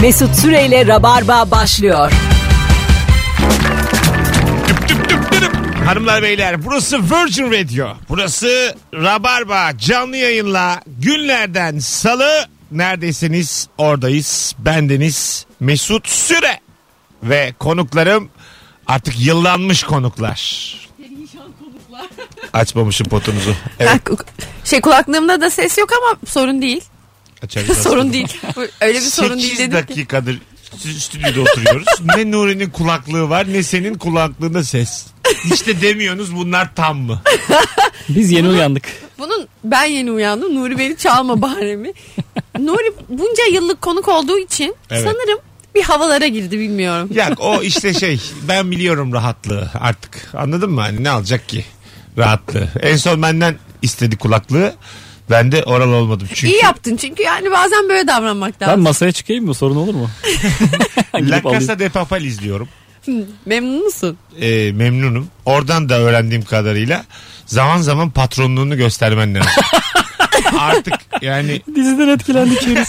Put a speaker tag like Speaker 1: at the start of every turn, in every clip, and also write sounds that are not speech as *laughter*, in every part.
Speaker 1: Mesut Süreyle Rabarba başlıyor.
Speaker 2: Tüp tüp tüp. Hanımlar beyler burası Virgin Radio. Burası Rabarba canlı yayınla günlerden salı neredeyseniz oradayız. Bendeniz Mesut Süre ve konuklarım artık yıllanmış konuklar. Açmamışım potunuzu. Evet
Speaker 3: Ha, ku- Şey kulaklığımda da ses yok ama sorun değil. *laughs*
Speaker 2: açabilirsiniz.
Speaker 3: sorun değil. Bu- Öyle bir sorun değil
Speaker 2: 8
Speaker 3: dedim ki.
Speaker 2: dakikadır stü- stüdyoda oturuyoruz. ne Nuri'nin kulaklığı var ne senin kulaklığında ses. İşte demiyorsunuz bunlar tam mı?
Speaker 4: Biz yeni uyandık.
Speaker 3: Bunun ben yeni uyandım. Nuri beni çalma *laughs* bahremi. Nuri bunca yıllık konuk olduğu için
Speaker 2: Evet.
Speaker 3: sanırım bir havalara girdi bilmiyorum.
Speaker 2: Ya o işte şey ben biliyorum rahatlığı artık anladın mı hani ne alacak ki rahatlığı. En son benden istedi kulaklığı ben de oral olmadım çünkü.
Speaker 3: İyi yaptın çünkü yani bazen böyle davranmak
Speaker 4: Ben
Speaker 3: lazım.
Speaker 4: masaya çıkayım mı? Sorun
Speaker 2: *laughs*
Speaker 4: olur mu?
Speaker 2: La
Speaker 4: Gidip alayım.
Speaker 2: Casa de Papel izliyorum
Speaker 3: Hı, Memnun musun?
Speaker 2: Ee, memnunum oradan da öğrendiğim kadarıyla zaman zaman patronluğunu göstermen lazım. artık yani
Speaker 4: Diziden etkilendik yeriz.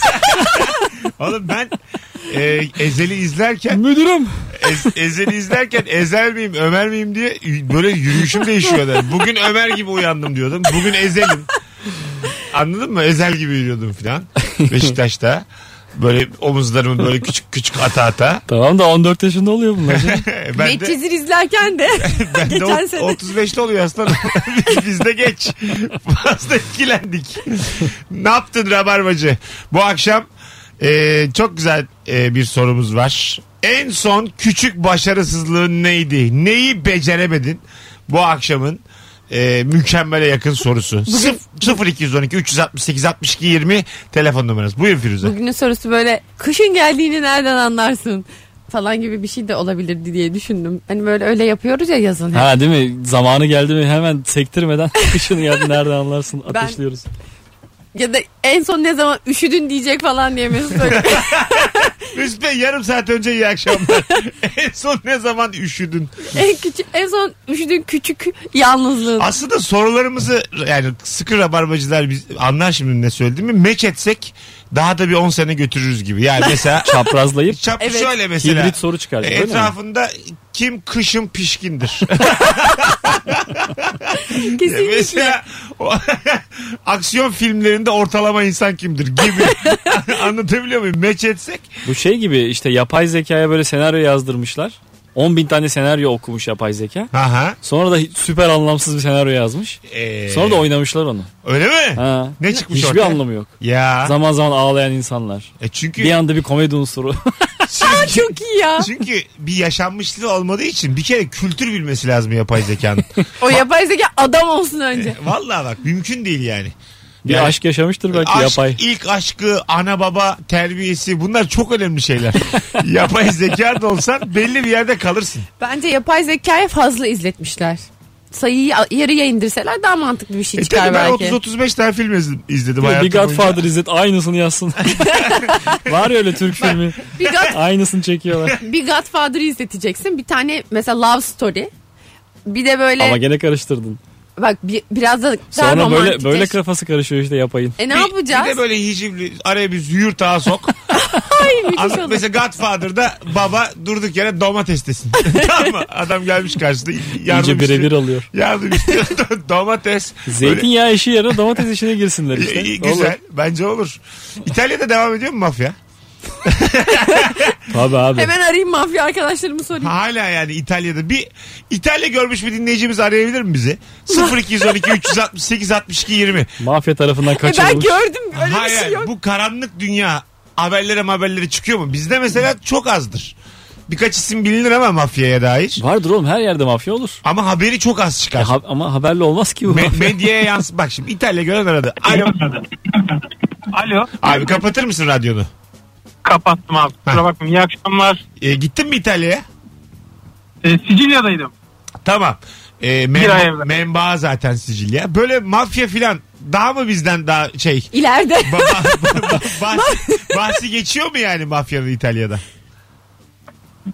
Speaker 2: oğlum ben e, Ezel'i izlerken
Speaker 4: Müdürüm.
Speaker 2: Ez- Ezel'i izlerken Ezel miyim Ömer miyim diye y- böyle yürüyüşüm değişiyordu. Bugün Ömer gibi uyandım diyordum. Bugün Ezel'im. Anladın mı? Ezel gibi yürüyordum filan. Beşiktaş'ta. Böyle omuzlarımı böyle küçük küçük ata ata.
Speaker 4: Tamam da 14 yaşında
Speaker 2: *laughs*
Speaker 4: oluyor bunlar. canım.
Speaker 2: Ben de,
Speaker 3: Medcezir izlerken de
Speaker 2: *laughs* ben de
Speaker 3: *laughs* geçen
Speaker 2: ot-
Speaker 3: sene.
Speaker 2: 35'te oluyor aslanım. *laughs* Biz de geç. *laughs* Fazla etkilendik. ne yaptın Rabarbacı? Bu akşam e, çok güzel e, bir sorumuz var. En son küçük başarısızlığın neydi? Neyi beceremedin? Bu akşamın e, mükemmele yakın sorusu. Sıf- 0212 368 62 20 telefon numaranız. Buyurun Firuze.
Speaker 3: Bugünün sorusu böyle kışın geldiğini nereden anlarsın? falan gibi bir şey de olabilirdi diye düşündüm. Hani böyle öyle yapıyoruz ya yazın. hep.
Speaker 4: ha değil mi? Zamanı geldi mi hemen sektirmeden *laughs* kışın geldi nereden anlarsın
Speaker 3: Ben-
Speaker 4: ateşliyoruz.
Speaker 3: Ya da en son ne zaman üşüdün diyecek falan diye Mesut
Speaker 2: *laughs*
Speaker 3: böyle
Speaker 2: Mesut Bey yarım saat önce iyi akşamlar. *laughs* en son ne zaman üşüdün?
Speaker 3: en küçük en son üşüdüğün küçük yalnızlığın.
Speaker 2: Aslında sorularımızı yani sıkı rabarbacılar biz anlar şimdi ne söylediğimi. Meç etsek daha da bir 10 sene götürürüz gibi. Yani
Speaker 3: *laughs*
Speaker 2: mesela
Speaker 4: Çaprazlayıp
Speaker 2: çap
Speaker 3: Evet.
Speaker 2: şöyle *laughs* mesela. e,
Speaker 4: hibrit soru çıkaracak. öyle mi?
Speaker 2: Etrafında kim kışın
Speaker 3: *laughs*
Speaker 2: pişkindir?
Speaker 3: Kesinlikle.
Speaker 2: mesela o- *laughs* aksiyon filmlerinde ortalama insan kimdir
Speaker 3: *laughs*
Speaker 2: gibi. Anlatabiliyor muyum? Meç etsek
Speaker 4: Bu şey gibi işte yapay zekaya böyle senaryo yazdırmışlar. 10 bin tane senaryo okumuş yapay zeka.
Speaker 2: Aha,
Speaker 4: Sonra da hiç- süper anlamsız bir senaryo yazmış.
Speaker 2: ee,
Speaker 4: Sonra da oynamışlar onu.
Speaker 2: Öyle mi?
Speaker 4: Ha.
Speaker 2: Ne çıkmış
Speaker 4: Hiçbir
Speaker 2: ortaya?
Speaker 4: anlamı yok.
Speaker 2: Ya.
Speaker 4: Zaman zaman ağlayan insanlar.
Speaker 2: E çünkü
Speaker 4: Bir anda bir komedi unsuru.
Speaker 2: *laughs*
Speaker 4: *laughs*
Speaker 2: çünkü,
Speaker 3: Çok iyi ya.
Speaker 2: çünkü bir yaşanmışlığı olmadığı için bir kere kültür bilmesi lazım yapay zekanın.
Speaker 3: O yapay zeka adam olsun önce.
Speaker 2: *laughs* Vallahi bak mümkün değil yani.
Speaker 4: bir
Speaker 2: Yani
Speaker 4: aşk yaşamıştır belki
Speaker 2: aşk,
Speaker 4: yapay.
Speaker 2: ilk aşkı, ana baba terbiyesi bunlar çok önemli
Speaker 4: *laughs*
Speaker 2: şeyler. yapay zeka da olsan belli bir yerde kalırsın.
Speaker 3: Bence yapay zekaya fazla izletmişler. Sayıyı yarıya indirseler daha mantıklı bir şey
Speaker 2: E
Speaker 3: çıkar
Speaker 2: tabii ben
Speaker 3: belki.
Speaker 2: 30-35 tane film izledim, izledim
Speaker 4: Bir
Speaker 2: hayatım boyunca.
Speaker 4: Godfather izlet
Speaker 2: *laughs*
Speaker 4: aynısını yazsın. Var ya öyle Türk filmi.
Speaker 3: Bir, God,
Speaker 4: Aynısını çekiyorlar.
Speaker 3: bir Godfather'ı izleteceksin. Bir tane mesela Love Story. Bir de böyle
Speaker 4: Ama gene karıştırdın.
Speaker 3: bak bir, biraz da daha
Speaker 4: Sonra böyle
Speaker 3: romantik
Speaker 4: böyle
Speaker 3: yaş-
Speaker 4: kafası karışıyor işte yapayın.
Speaker 3: E ne
Speaker 2: Bir-
Speaker 3: yapacağız?
Speaker 2: Bir de böyle hicivli araya bir züğürt ağa sok.
Speaker 3: *laughs* Ay, müthiş
Speaker 2: Anladın mı?
Speaker 3: olur.
Speaker 2: Mesela Godfather'da baba durduk yere domates desin. *laughs* tamam mı? Adam gelmiş karşısında yardım
Speaker 4: İyice
Speaker 2: istiyor.
Speaker 4: birebir alıyor.
Speaker 2: Yardım istiyor. *laughs* domates. Böyle-
Speaker 4: Zeytinyağı işi yerine domates işine girsinler işte.
Speaker 2: E- İyi, güzel.
Speaker 4: Olur.
Speaker 2: Bence olur. İtalya'da devam ediyor mu mafya?
Speaker 4: Tabii abi.
Speaker 3: Hemen arayayım mafya arkadaşlarımı sorayım. E,
Speaker 2: Hala yani İtalya'da bir İtalya görmüş bir dinleyicimiz arayabilir mi
Speaker 3: *laughs*
Speaker 2: bizi? 0212 368 62 20.
Speaker 4: Mafya tarafından
Speaker 3: E ben
Speaker 4: kaçırılmış.
Speaker 3: gördüm öyle bir
Speaker 2: Hayır
Speaker 3: şey yok.
Speaker 2: bu karanlık dünya haberlere haberleri çıkıyor mu? Bizde mesela çok azdır. Birkaç isim bilinir ama mafyaya dair.
Speaker 4: Vardır oğlum her yerde mafya olur.
Speaker 2: Ama haberi çok az çıkar.
Speaker 4: E ha- ama haberli olmaz ki bu.
Speaker 2: Me- medyaya yansı. Bak şimdi İtalya gören aradı. Alo.
Speaker 5: Alo.
Speaker 2: Abi kapatır mısın radyonu?
Speaker 5: Kapattım abi. Kusura bakmayın. İyi akşamlar.
Speaker 2: Ee, gittin mi İtalya'ya?
Speaker 5: Ee, Sicilya'daydım.
Speaker 2: Tamam. Ee, men-
Speaker 5: Bir ay evvel.
Speaker 2: menba zaten Sicilya. Böyle mafya filan daha mı bizden daha
Speaker 5: *laughs*
Speaker 2: şey?
Speaker 3: İleride.
Speaker 2: Ba- ba- ba- bahsi, bahsi geçiyor mu yani mafyanın İtalya'da?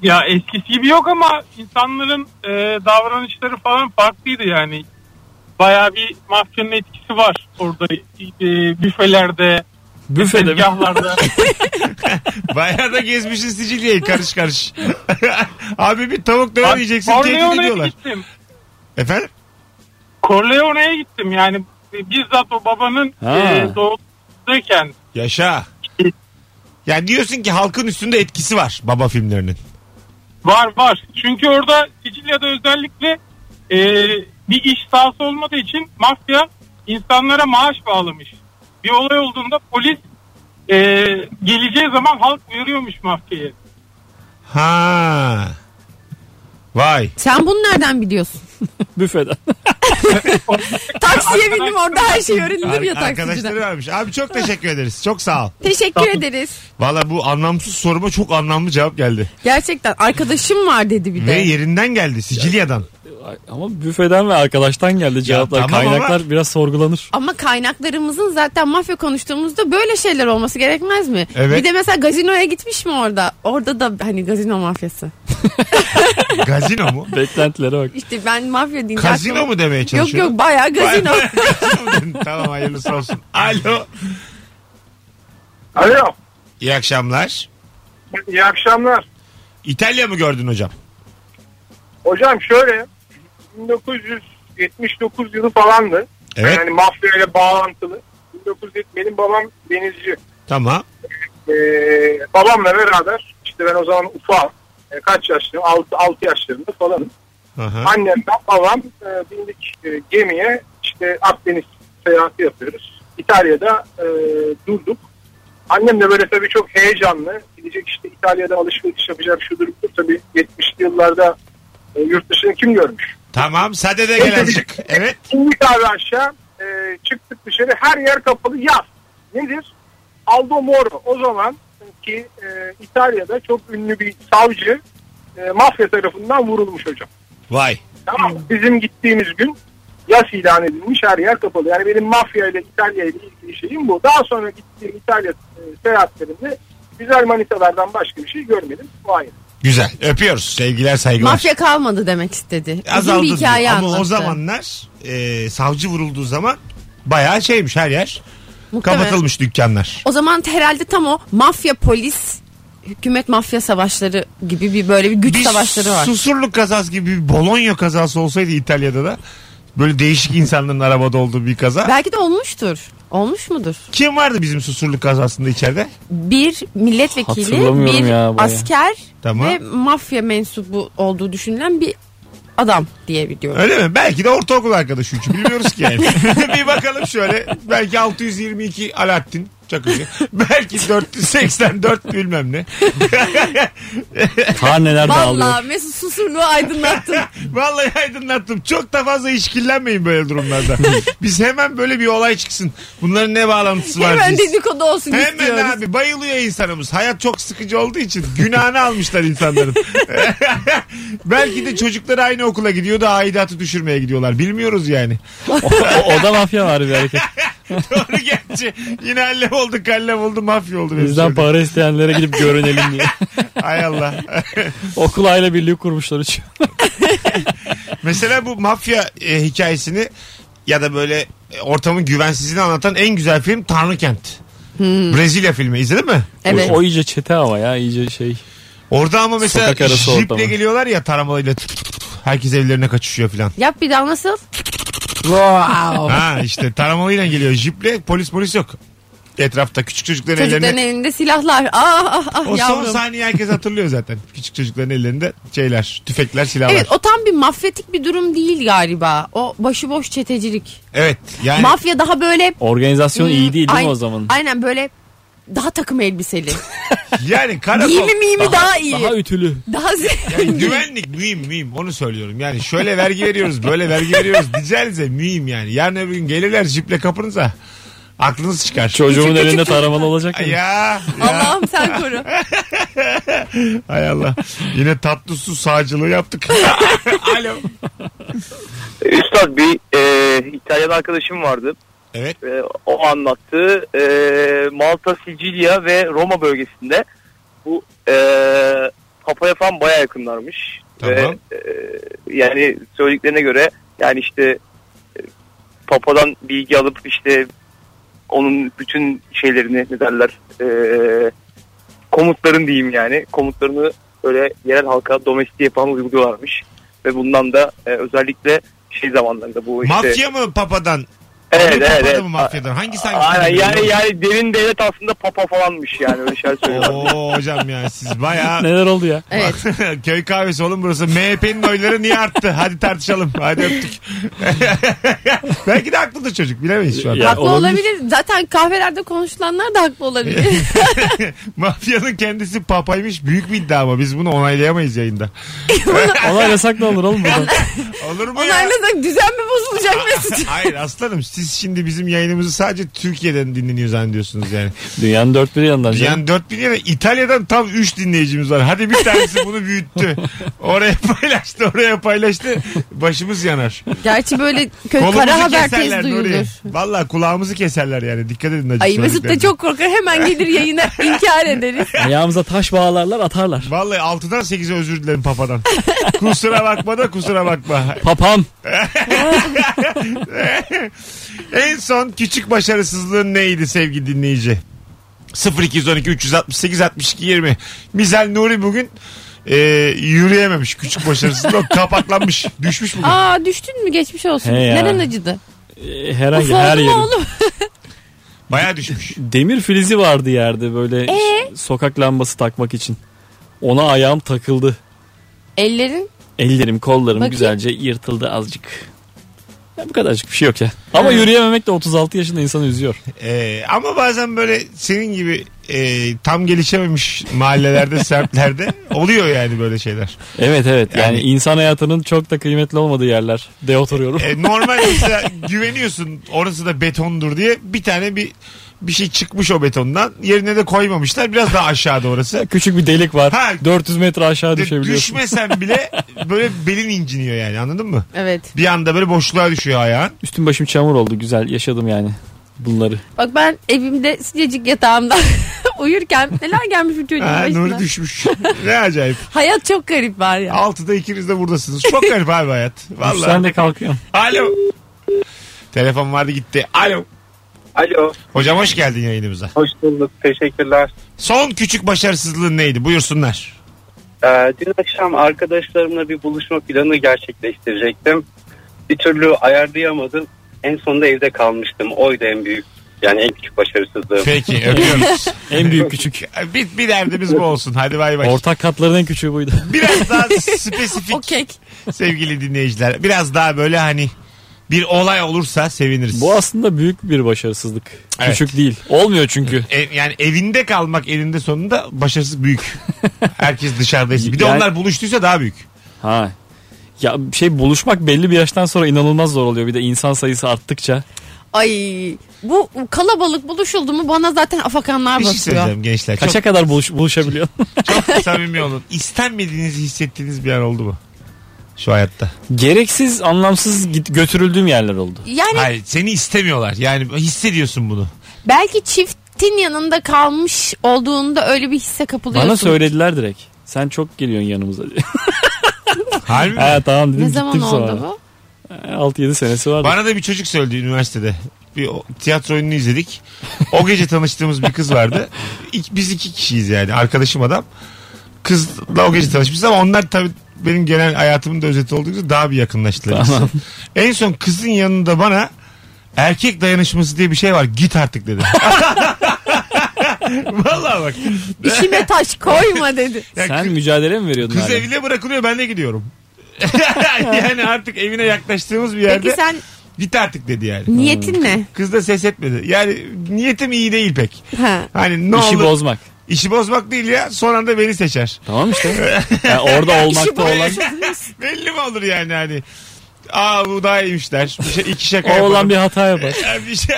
Speaker 5: Ya eskisi gibi yok ama insanların e, davranışları falan farklıydı yani. Bayağı bir mafyanın etkisi var orada. E, büfelerde,
Speaker 4: Büfede mi?
Speaker 5: Tezgahlarda.
Speaker 2: Bayağı da gezmişsin Sicilya'yı karış karış. *laughs* Abi bir tavuk döner yiyeceksin tehdit
Speaker 5: Corleone'ye
Speaker 2: ediyorlar.
Speaker 5: gittim.
Speaker 2: Efendim?
Speaker 5: Corleone'ye gittim yani. Bizzat o babanın
Speaker 4: Ha.
Speaker 5: e, doğduğundayken.
Speaker 2: Yaşa. Yani diyorsun ki halkın üstünde etkisi var baba filmlerinin.
Speaker 5: Var var. Çünkü orada Sicilya'da özellikle e, bir iş sahası olmadığı için mafya insanlara maaş bağlamış. Bir olay olduğunda polis e, geleceği zaman halk uyarıyormuş mafyayı.
Speaker 2: Ha. Vay.
Speaker 3: Sen bunu
Speaker 2: *laughs*
Speaker 3: nereden biliyorsun?
Speaker 4: *laughs* Büfeden.
Speaker 3: Taksiye bindim orada her şey öğrenilir ya
Speaker 2: Ar-
Speaker 3: taksiciden.
Speaker 2: arkadaşları vermiş. Abi çok teşekkür ederiz. Çok sağ ol.
Speaker 3: Teşekkür ederiz.
Speaker 2: Valla bu anlamsız soruma çok anlamlı cevap geldi.
Speaker 3: Gerçekten arkadaşım var dedi bir
Speaker 2: Ve
Speaker 3: de.
Speaker 2: yerinden geldi
Speaker 3: *laughs*
Speaker 2: Sicilya'dan.
Speaker 4: Ama büfeden ve arkadaştan geldi cevaplar.
Speaker 2: tamam ama-
Speaker 4: Kaynaklar biraz sorgulanır.
Speaker 3: Ama kaynaklarımızın zaten mafya konuştuğumuzda böyle şeyler olması gerekmez mi?
Speaker 2: Evet.
Speaker 3: Bir de mesela gazinoya gitmiş mi orada? Orada da hani gazino mafyası.
Speaker 2: Gazino mu?
Speaker 4: Beklentilere bak.
Speaker 3: İşte ben mafya deyince
Speaker 2: Kazino
Speaker 3: aklıma-
Speaker 2: mu demeye
Speaker 3: Yok
Speaker 2: çalışıyor?
Speaker 3: yok bayağı gazino.
Speaker 2: *laughs* tamam hayırlısı olsun. Alo.
Speaker 5: Alo.
Speaker 2: İyi akşamlar.
Speaker 5: İyi akşamlar.
Speaker 2: İtalya mı gördün hocam?
Speaker 5: Hocam şöyle 1979 yılı falandı.
Speaker 2: Evet.
Speaker 5: Yani mafya ile bağlantılı. 1970 benim babam denizci.
Speaker 2: Tamam.
Speaker 5: Ee, babamla beraber işte ben o zaman ufak kaç yaşlıyım? 6, 6 yaşlarında falanım.
Speaker 2: Aha.
Speaker 5: Annem ben babam e, bindik e, gemiye işte Akdeniz seyahati yapıyoruz. İtalya'da e, durduk. Annem de böyle tabii çok heyecanlı. Gidecek işte İtalya'da alışveriş yapacak şudur budur. Tabii 70'li yıllarda e, yurt dışını kim görmüş?
Speaker 2: Tamam. Sade de gel azıcık. Evet.
Speaker 5: İndik abi aşağı. E, çıktık dışarı. Her yer kapalı. Yaz. Nedir? Aldo Moro. O zaman ki e, İtalya'da çok ünlü bir savcı e, mafya tarafından vurulmuş hocam.
Speaker 2: Vay.
Speaker 5: Tamam mı? Bizim gittiğimiz gün yas ilan edilmiş her yer kapalı. Yani benim mafya ile İtalya ile ilgili şeyim bu. Daha sonra gittiğim İtalya e, seyahatlerinde güzel manitalardan başka bir şey görmedim. Bu ayrı.
Speaker 2: Güzel. Öpüyoruz. Sevgiler saygılar.
Speaker 3: mafya kalmadı demek istedi. Uzun
Speaker 2: Azaldı
Speaker 3: bir
Speaker 2: diyor.
Speaker 3: hikaye
Speaker 2: Ama
Speaker 3: anlattı.
Speaker 2: o zamanlar e, savcı vurulduğu zaman bayağı şeymiş her yer.
Speaker 3: Muhtemelen.
Speaker 2: Kapatılmış dükkanlar.
Speaker 3: O zaman herhalde tam o mafya polis hükümet mafya savaşları gibi bir böyle bir güç
Speaker 2: Bir
Speaker 3: savaşları var.
Speaker 2: Susurluk kazası gibi bir Bologna kazası olsaydı İtalya'da da böyle değişik insanların arabada olduğu bir kaza.
Speaker 3: Belki de olmuştur. Olmuş mudur?
Speaker 2: Kim vardı bizim susurluk kazasında içeride?
Speaker 3: Bir milletvekili,
Speaker 4: Hatırlamıyorum
Speaker 3: bir
Speaker 4: ya bayağı.
Speaker 3: asker
Speaker 2: Tamam.
Speaker 3: ve mafya mensubu olduğu düşünülen bir adam diye biliyorum.
Speaker 2: Öyle mi? Belki de ortaokul arkadaşı üçü. Bilmiyoruz ki
Speaker 3: *laughs*
Speaker 2: yani. *laughs* bir bakalım şöyle. Belki 622 Alaaddin Çakıcı. *laughs* Belki 484 bilmem ne. *laughs*
Speaker 4: Ta neler dağılıyor.
Speaker 3: Vallahi Mesut
Speaker 2: *laughs*
Speaker 3: Susurluğu aydınlattın.
Speaker 2: Vallahi aydınlattım. Çok da fazla işkillenmeyin böyle
Speaker 3: *laughs*
Speaker 2: durumlarda. Biz hemen böyle bir olay çıksın. Bunların ne bağlantısı var?
Speaker 3: Hemen
Speaker 2: biz?
Speaker 3: dedikodu olsun istiyoruz.
Speaker 2: Hemen abi bayılıyor insanımız. Hayat çok sıkıcı olduğu için günahını almışlar insanların. *laughs* Belki de çocukları aynı okula gidiyor da aidatı düşürmeye gidiyorlar. Bilmiyoruz yani. *laughs*
Speaker 4: O, o- o da mafya var bir hareket.
Speaker 2: Doğru gerçi. Yine hallem oldu, kallem oldu, mafya oldu. benim
Speaker 4: Bizden
Speaker 2: söylediğim.
Speaker 4: para isteyenlere gidip görünelim diye.
Speaker 2: Hay Allah.
Speaker 4: Okul aile birliği kurmuşlar üç.
Speaker 2: Mesela bu mafya e, hikayesini ya da böyle e, ortamın güvensizliğini anlatan en güzel film Tanrıkent.
Speaker 4: Hmm.
Speaker 2: Brezilya filmi izledin mi?
Speaker 3: Evet.
Speaker 4: O, o iyice çete ama ya iyice şey.
Speaker 2: Orada ama mesela
Speaker 4: Sokak arası ortamı.
Speaker 2: jiple geliyorlar ya taramalıyla tık tık tık. herkes evlerine kaçışıyor filan.
Speaker 3: Yap bir daha nasıl?
Speaker 2: Ha işte taramalıyla geliyor jiple polis polis yok. Etrafta küçük çocukların
Speaker 3: *laughs* Çocukların
Speaker 2: ellerinde.
Speaker 3: elinde silahlar. Ah ah ah
Speaker 2: O son
Speaker 3: yavrum.
Speaker 2: saniye herkes hatırlıyor
Speaker 3: *laughs*
Speaker 2: zaten. Küçük çocukların ellerinde şeyler, tüfekler, silahlar.
Speaker 3: Evet o tam bir mafyatik bir durum değil galiba. O başıboş çetecilik.
Speaker 2: Evet, yani
Speaker 3: Mafya daha böyle...
Speaker 4: Organizasyon iyi değil değil mi
Speaker 3: Ay-
Speaker 4: o zaman?
Speaker 3: Aynen böyle daha takım elbiseli.
Speaker 2: yani karakol
Speaker 3: Giyimi miyimi daha iyi.
Speaker 4: Daha ütülü.
Speaker 3: Daha zengin.
Speaker 2: Yani güvenlik mühim mühim onu söylüyorum. Yani şöyle vergi veriyoruz böyle vergi veriyoruz diyeceğinize mühim yani. Yarın öbür gün gelirler jiple kapınıza aklınız çıkar.
Speaker 4: Çocuğumun
Speaker 3: Küçük
Speaker 4: elinde
Speaker 3: küçük.
Speaker 4: taramalı olacak
Speaker 2: Ya,
Speaker 4: mı?
Speaker 2: ya.
Speaker 3: *laughs* Allah'ım sen koru.
Speaker 2: Hay Allah. Yine tatlı su sağcılığı
Speaker 3: *laughs*
Speaker 2: yaptık. Alo.
Speaker 6: Üstad bir e, İtalyan arkadaşım vardı.
Speaker 2: Evet.
Speaker 6: E, o anlattı. E, Malta, Sicilya ve Roma bölgesinde bu e, papaya falan baya yakınlarmış.
Speaker 2: Tamam.
Speaker 6: Ve, e, yani söylediklerine göre yani işte e, papadan bilgi alıp işte onun bütün şeylerini ne derler ee, komutların diyeyim yani komutlarını böyle yerel halka domestiğe falan uyguluyorlarmış. Ve bundan da ee, özellikle şey zamanlarında bu işte.
Speaker 2: Mafya mı papadan?
Speaker 6: Evet,
Speaker 2: Anadolu
Speaker 6: evet,
Speaker 2: papadı
Speaker 6: evet.
Speaker 2: mı Hani mafyadan? Hangisi hangisi?
Speaker 6: Aynen yani, yani derin devlet aslında papa falanmış yani öyle şeyler söylüyorlar.
Speaker 2: Oo hocam ya siz bayağı *laughs*
Speaker 4: Neler oldu ya?
Speaker 3: Evet.
Speaker 2: Köy kahvesi oğlum burası. MHP'nin oyları niye arttı? Hadi tartışalım. Hadi öptük. *laughs* Belki de haklıdır çocuk. Bilemeyiz şu an.
Speaker 4: Ya,
Speaker 3: haklı
Speaker 4: olabilir.
Speaker 3: olabilir. Zaten kahvelerde konuşulanlar da haklı olabilir.
Speaker 2: Mafyanın kendisi papaymış. Büyük bir iddia ama biz bunu onaylayamayız yayında.
Speaker 4: Onaylasak ne olur
Speaker 3: *laughs*
Speaker 4: oğlum buradan?
Speaker 2: Olur mu ya?
Speaker 3: Onlarla düzen mi bozulacak
Speaker 2: *laughs*
Speaker 3: Mesut?
Speaker 2: Hayır aslanım siz şimdi bizim yayınımızı sadece Türkiye'den dinleniyor zannediyorsunuz yani.
Speaker 4: Dünyanın dört bir yanından. canım.
Speaker 2: Yani 4000 lira İtalya'dan tam 3 dinleyicimiz var. Hadi bir tanesi bunu
Speaker 3: *laughs*
Speaker 2: büyüttü. Oraya paylaştı oraya paylaştı. Başımız yanar.
Speaker 3: Gerçi böyle kötü
Speaker 2: Kolumuzu
Speaker 3: kara haber tez
Speaker 2: keserler Nuri.
Speaker 3: duyulur.
Speaker 2: Valla kulağımızı keserler yani. Dikkat edin acı
Speaker 3: Ay Mesut da
Speaker 2: söylediklerine.
Speaker 3: çok korkar hemen gelir yayına inkar ederiz.
Speaker 4: Ayağımıza taş bağlarlar atarlar.
Speaker 2: Vallahi 6'dan 8'e özür dilerim
Speaker 3: *laughs*
Speaker 2: papadan. kusura bakma da kusura bakma.
Speaker 4: Papam.
Speaker 2: En son küçük başarısızlığın neydi sevgili dinleyici? 0212 368 62 20. Misal Nuri bugün e, yürüyememiş. Küçük başarısızlığı o kapaklanmış. Düşmüş bugün.
Speaker 3: Aa düştün mü geçmiş olsun.
Speaker 4: He ya.
Speaker 3: Neren acıdı?
Speaker 4: Ee,
Speaker 3: Uf
Speaker 4: Herhangi her
Speaker 3: oldu
Speaker 4: yeri.
Speaker 3: mu oğlum?
Speaker 2: Baya düşmüş.
Speaker 4: Demir filizi vardı yerde böyle
Speaker 3: E?
Speaker 4: ş- sokak lambası takmak için. Ona ayağım takıldı.
Speaker 3: Ellerin
Speaker 4: Ellerim kollarım
Speaker 3: Bakayım.
Speaker 4: güzelce yırtıldı azıcık. Ya bu kadarcık bir şey yok ya. Ama yürüyememek de 36 yaşında insanı üzüyor.
Speaker 2: E, ama bazen böyle senin gibi e, tam gelişememiş mahallelerde, semtlerde oluyor yani böyle şeyler.
Speaker 4: Evet evet yani,
Speaker 2: Yani-
Speaker 4: insan hayatının çok da kıymetli olmadığı yerler de oturuyorum.
Speaker 2: E, normal mesela güveniyorsun orası da betondur diye bir tane bir bir şey çıkmış o betondan. Yerine de koymamışlar. Biraz daha aşağıda orası.
Speaker 4: *laughs* Küçük bir delik var.
Speaker 2: E, Ha. e,
Speaker 4: 400 metre aşağı
Speaker 2: De-
Speaker 4: düşebiliyorsun.
Speaker 2: Düşmesen bile böyle belin inciniyor yani anladın mı?
Speaker 3: evet.
Speaker 2: Bir anda böyle boşluğa düşüyor ayağın.
Speaker 4: Üstüm başım çamur oldu güzel yaşadım yani bunları.
Speaker 3: Bak ben evimde sıcacık yatağımda *laughs* uyurken neler gelmiş bu çocuğun
Speaker 2: Ha,
Speaker 3: başına.
Speaker 2: Nuri düşmüş. ne acayip.
Speaker 3: Hayat çok garip var ya.
Speaker 2: Altıda ikiniz de buradasınız. Çok garip abi hayat. Vallahi.
Speaker 4: Sen de kalkıyorsun.
Speaker 2: Alo. Telefon vardı gitti. Alo.
Speaker 5: Alo.
Speaker 2: Hocam hoş geldin yayınımıza.
Speaker 5: Hoş bulduk. Teşekkürler.
Speaker 2: Son küçük başarısızlığın neydi? Buyursunlar.
Speaker 5: Ee, dün akşam arkadaşlarımla bir buluşma planı gerçekleştirecektim. Bir türlü ayarlayamadım. En sonunda evde kalmıştım. Oydu en büyük. Yani en küçük başarısızlığım.
Speaker 2: Peki
Speaker 4: *laughs*
Speaker 2: öpüyoruz.
Speaker 4: En
Speaker 2: *laughs*
Speaker 4: büyük küçük.
Speaker 2: bir, bir derdimiz bu olsun. Hadi bay bay.
Speaker 4: Ortak katların en
Speaker 2: *laughs*
Speaker 4: küçüğü buydu.
Speaker 2: Biraz
Speaker 4: *laughs*
Speaker 2: daha
Speaker 3: O
Speaker 2: spesifik
Speaker 3: kek.
Speaker 2: sevgili dinleyiciler. Biraz daha böyle hani bir olay olursa seviniriz.
Speaker 4: Bu aslında büyük bir başarısızlık.
Speaker 2: Evet.
Speaker 4: Küçük değil. Olmuyor çünkü.
Speaker 2: E- yani evinde kalmak elinde sonunda başarısız büyük. Herkes dışarıdaysa. Bir de
Speaker 4: Yani-
Speaker 2: onlar buluştuysa daha büyük. şey
Speaker 4: Ha. Ya şey buluşmak belli bir yaştan sonra inanılmaz zor oluyor. Bir de insan sayısı arttıkça.
Speaker 3: Ay bu kalabalık buluşuldu mu bana zaten afakanlar
Speaker 2: Bir şey
Speaker 3: basıyor.
Speaker 2: söyleyeceğim gençler.
Speaker 4: Kaça kadar buluş,
Speaker 2: *laughs*
Speaker 4: buluşabiliyorsun?
Speaker 2: Çok, çok samimi olun. İstenmediğinizi hissettiğiniz bir an oldu mu? Şu hayatta.
Speaker 4: Gereksiz, anlamsız git, götürüldüğüm yerler oldu.
Speaker 3: Yani
Speaker 2: Hayır seni istemiyorlar. Yani hissediyorsun bunu.
Speaker 3: belki çiftin yanında kalmış olduğunda öyle bir hisse kapılıyorsun.
Speaker 4: Bana söylediler direkt. Sen çok geliyorsun yanımıza diye.
Speaker 2: Harbi mi?
Speaker 4: ha tamam dedim
Speaker 3: Ne zaman
Speaker 4: gittim
Speaker 3: oldu
Speaker 4: sonra.
Speaker 3: bu?
Speaker 4: 6-7 senesi vardı.
Speaker 2: Bana da bir çocuk söyledi üniversitede. Bir o- tiyatro oyununu izledik. O gece tanıştığımız bir kız vardı. İk- Biz iki kişiyiz yani. Arkadaşım adam. Kızla o gece tanışmışız ama onlar tabii benim genel hayatımın da özeti olduğu gibi daha bir yakınlaştılar.
Speaker 4: Tamam.
Speaker 2: En son kızın yanında bana erkek dayanışması diye bir şey var. Git artık dedi. *laughs* Vallahi bak.
Speaker 3: İşime
Speaker 4: *laughs*
Speaker 3: taş koyma dedi.
Speaker 2: Ya
Speaker 4: Sen
Speaker 2: kı-
Speaker 4: mücadele mi veriyordun?
Speaker 2: kız
Speaker 4: hala?
Speaker 2: evine bırakılıyor ben de gidiyorum. *laughs* yani artık evine yaklaştığımız bir
Speaker 3: Peki
Speaker 2: yerde
Speaker 3: sen
Speaker 2: git artık dedi yani.
Speaker 3: niyetin ne?
Speaker 4: Hmm.
Speaker 2: Kız da ses etmedi. Yani niyetim iyi değil pek.
Speaker 3: Ha.
Speaker 2: Hani ne
Speaker 4: İşi
Speaker 2: olur.
Speaker 4: bozmak.
Speaker 2: İşi bozmak değil ya. Son anda beni seçer.
Speaker 4: Tamam işte. Yani orada olmakta olan.
Speaker 2: Belli mi olur yani hani. Aa bu daha iyiymiş der. Bir şey, iki şaka
Speaker 4: O olan
Speaker 2: yapalım.
Speaker 4: bir hata
Speaker 2: *laughs*
Speaker 4: yapar.
Speaker 2: Yani bir şey.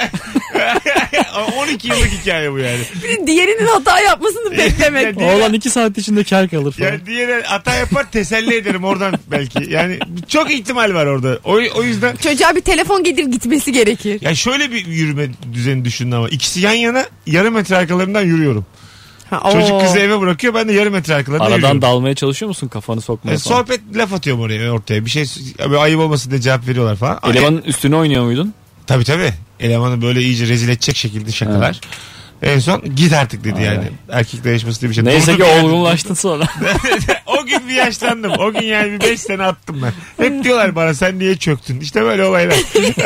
Speaker 2: 12 yıllık hikaye bu yani.
Speaker 3: Bir de Diğerinin hata
Speaker 4: *laughs*
Speaker 3: yapmasını beklemek.
Speaker 2: Ya
Speaker 4: O olan 2 saat içinde kel kalır falan.
Speaker 2: Yani diğeri hata yapar teselli ederim oradan belki. Yani çok ihtimal var orada. O, o yüzden
Speaker 3: Çocuğa bir telefon gelir gitmesi gerekir.
Speaker 2: ya şöyle bir yürüme düzeni düşünün ama ikisi yan yana yarım metre arkalarından yürüyorum.
Speaker 3: Ha,
Speaker 2: Çocuk
Speaker 3: oo.
Speaker 2: kızı eve bırakıyor ben de yarım metre arkalarından yürüyorum.
Speaker 4: Aradan dalmaya çalışıyor musun kafanı sokmaya
Speaker 2: E,
Speaker 4: falan?
Speaker 2: sohbet laf atıyorum oraya ortaya. Bir şey böyle ayıp olmasın diye cevap veriyorlar falan. Ay,
Speaker 4: Elemanın üstüne oynuyor muydun?
Speaker 2: Tabii tabii. elemanı böyle iyice rezil edecek şekilde şakalar. En son git artık dedi yani. Erkekler yarışması diye bir şey.
Speaker 4: Neyse ki
Speaker 2: Durdum yani.
Speaker 4: olgunlaştın sonra.
Speaker 2: *laughs* o gün bir yaşlandım. O gün yani bir 5 sene attım ben. Hep diyorlar bana sen niye çöktün? İşte böyle olaylar. *laughs*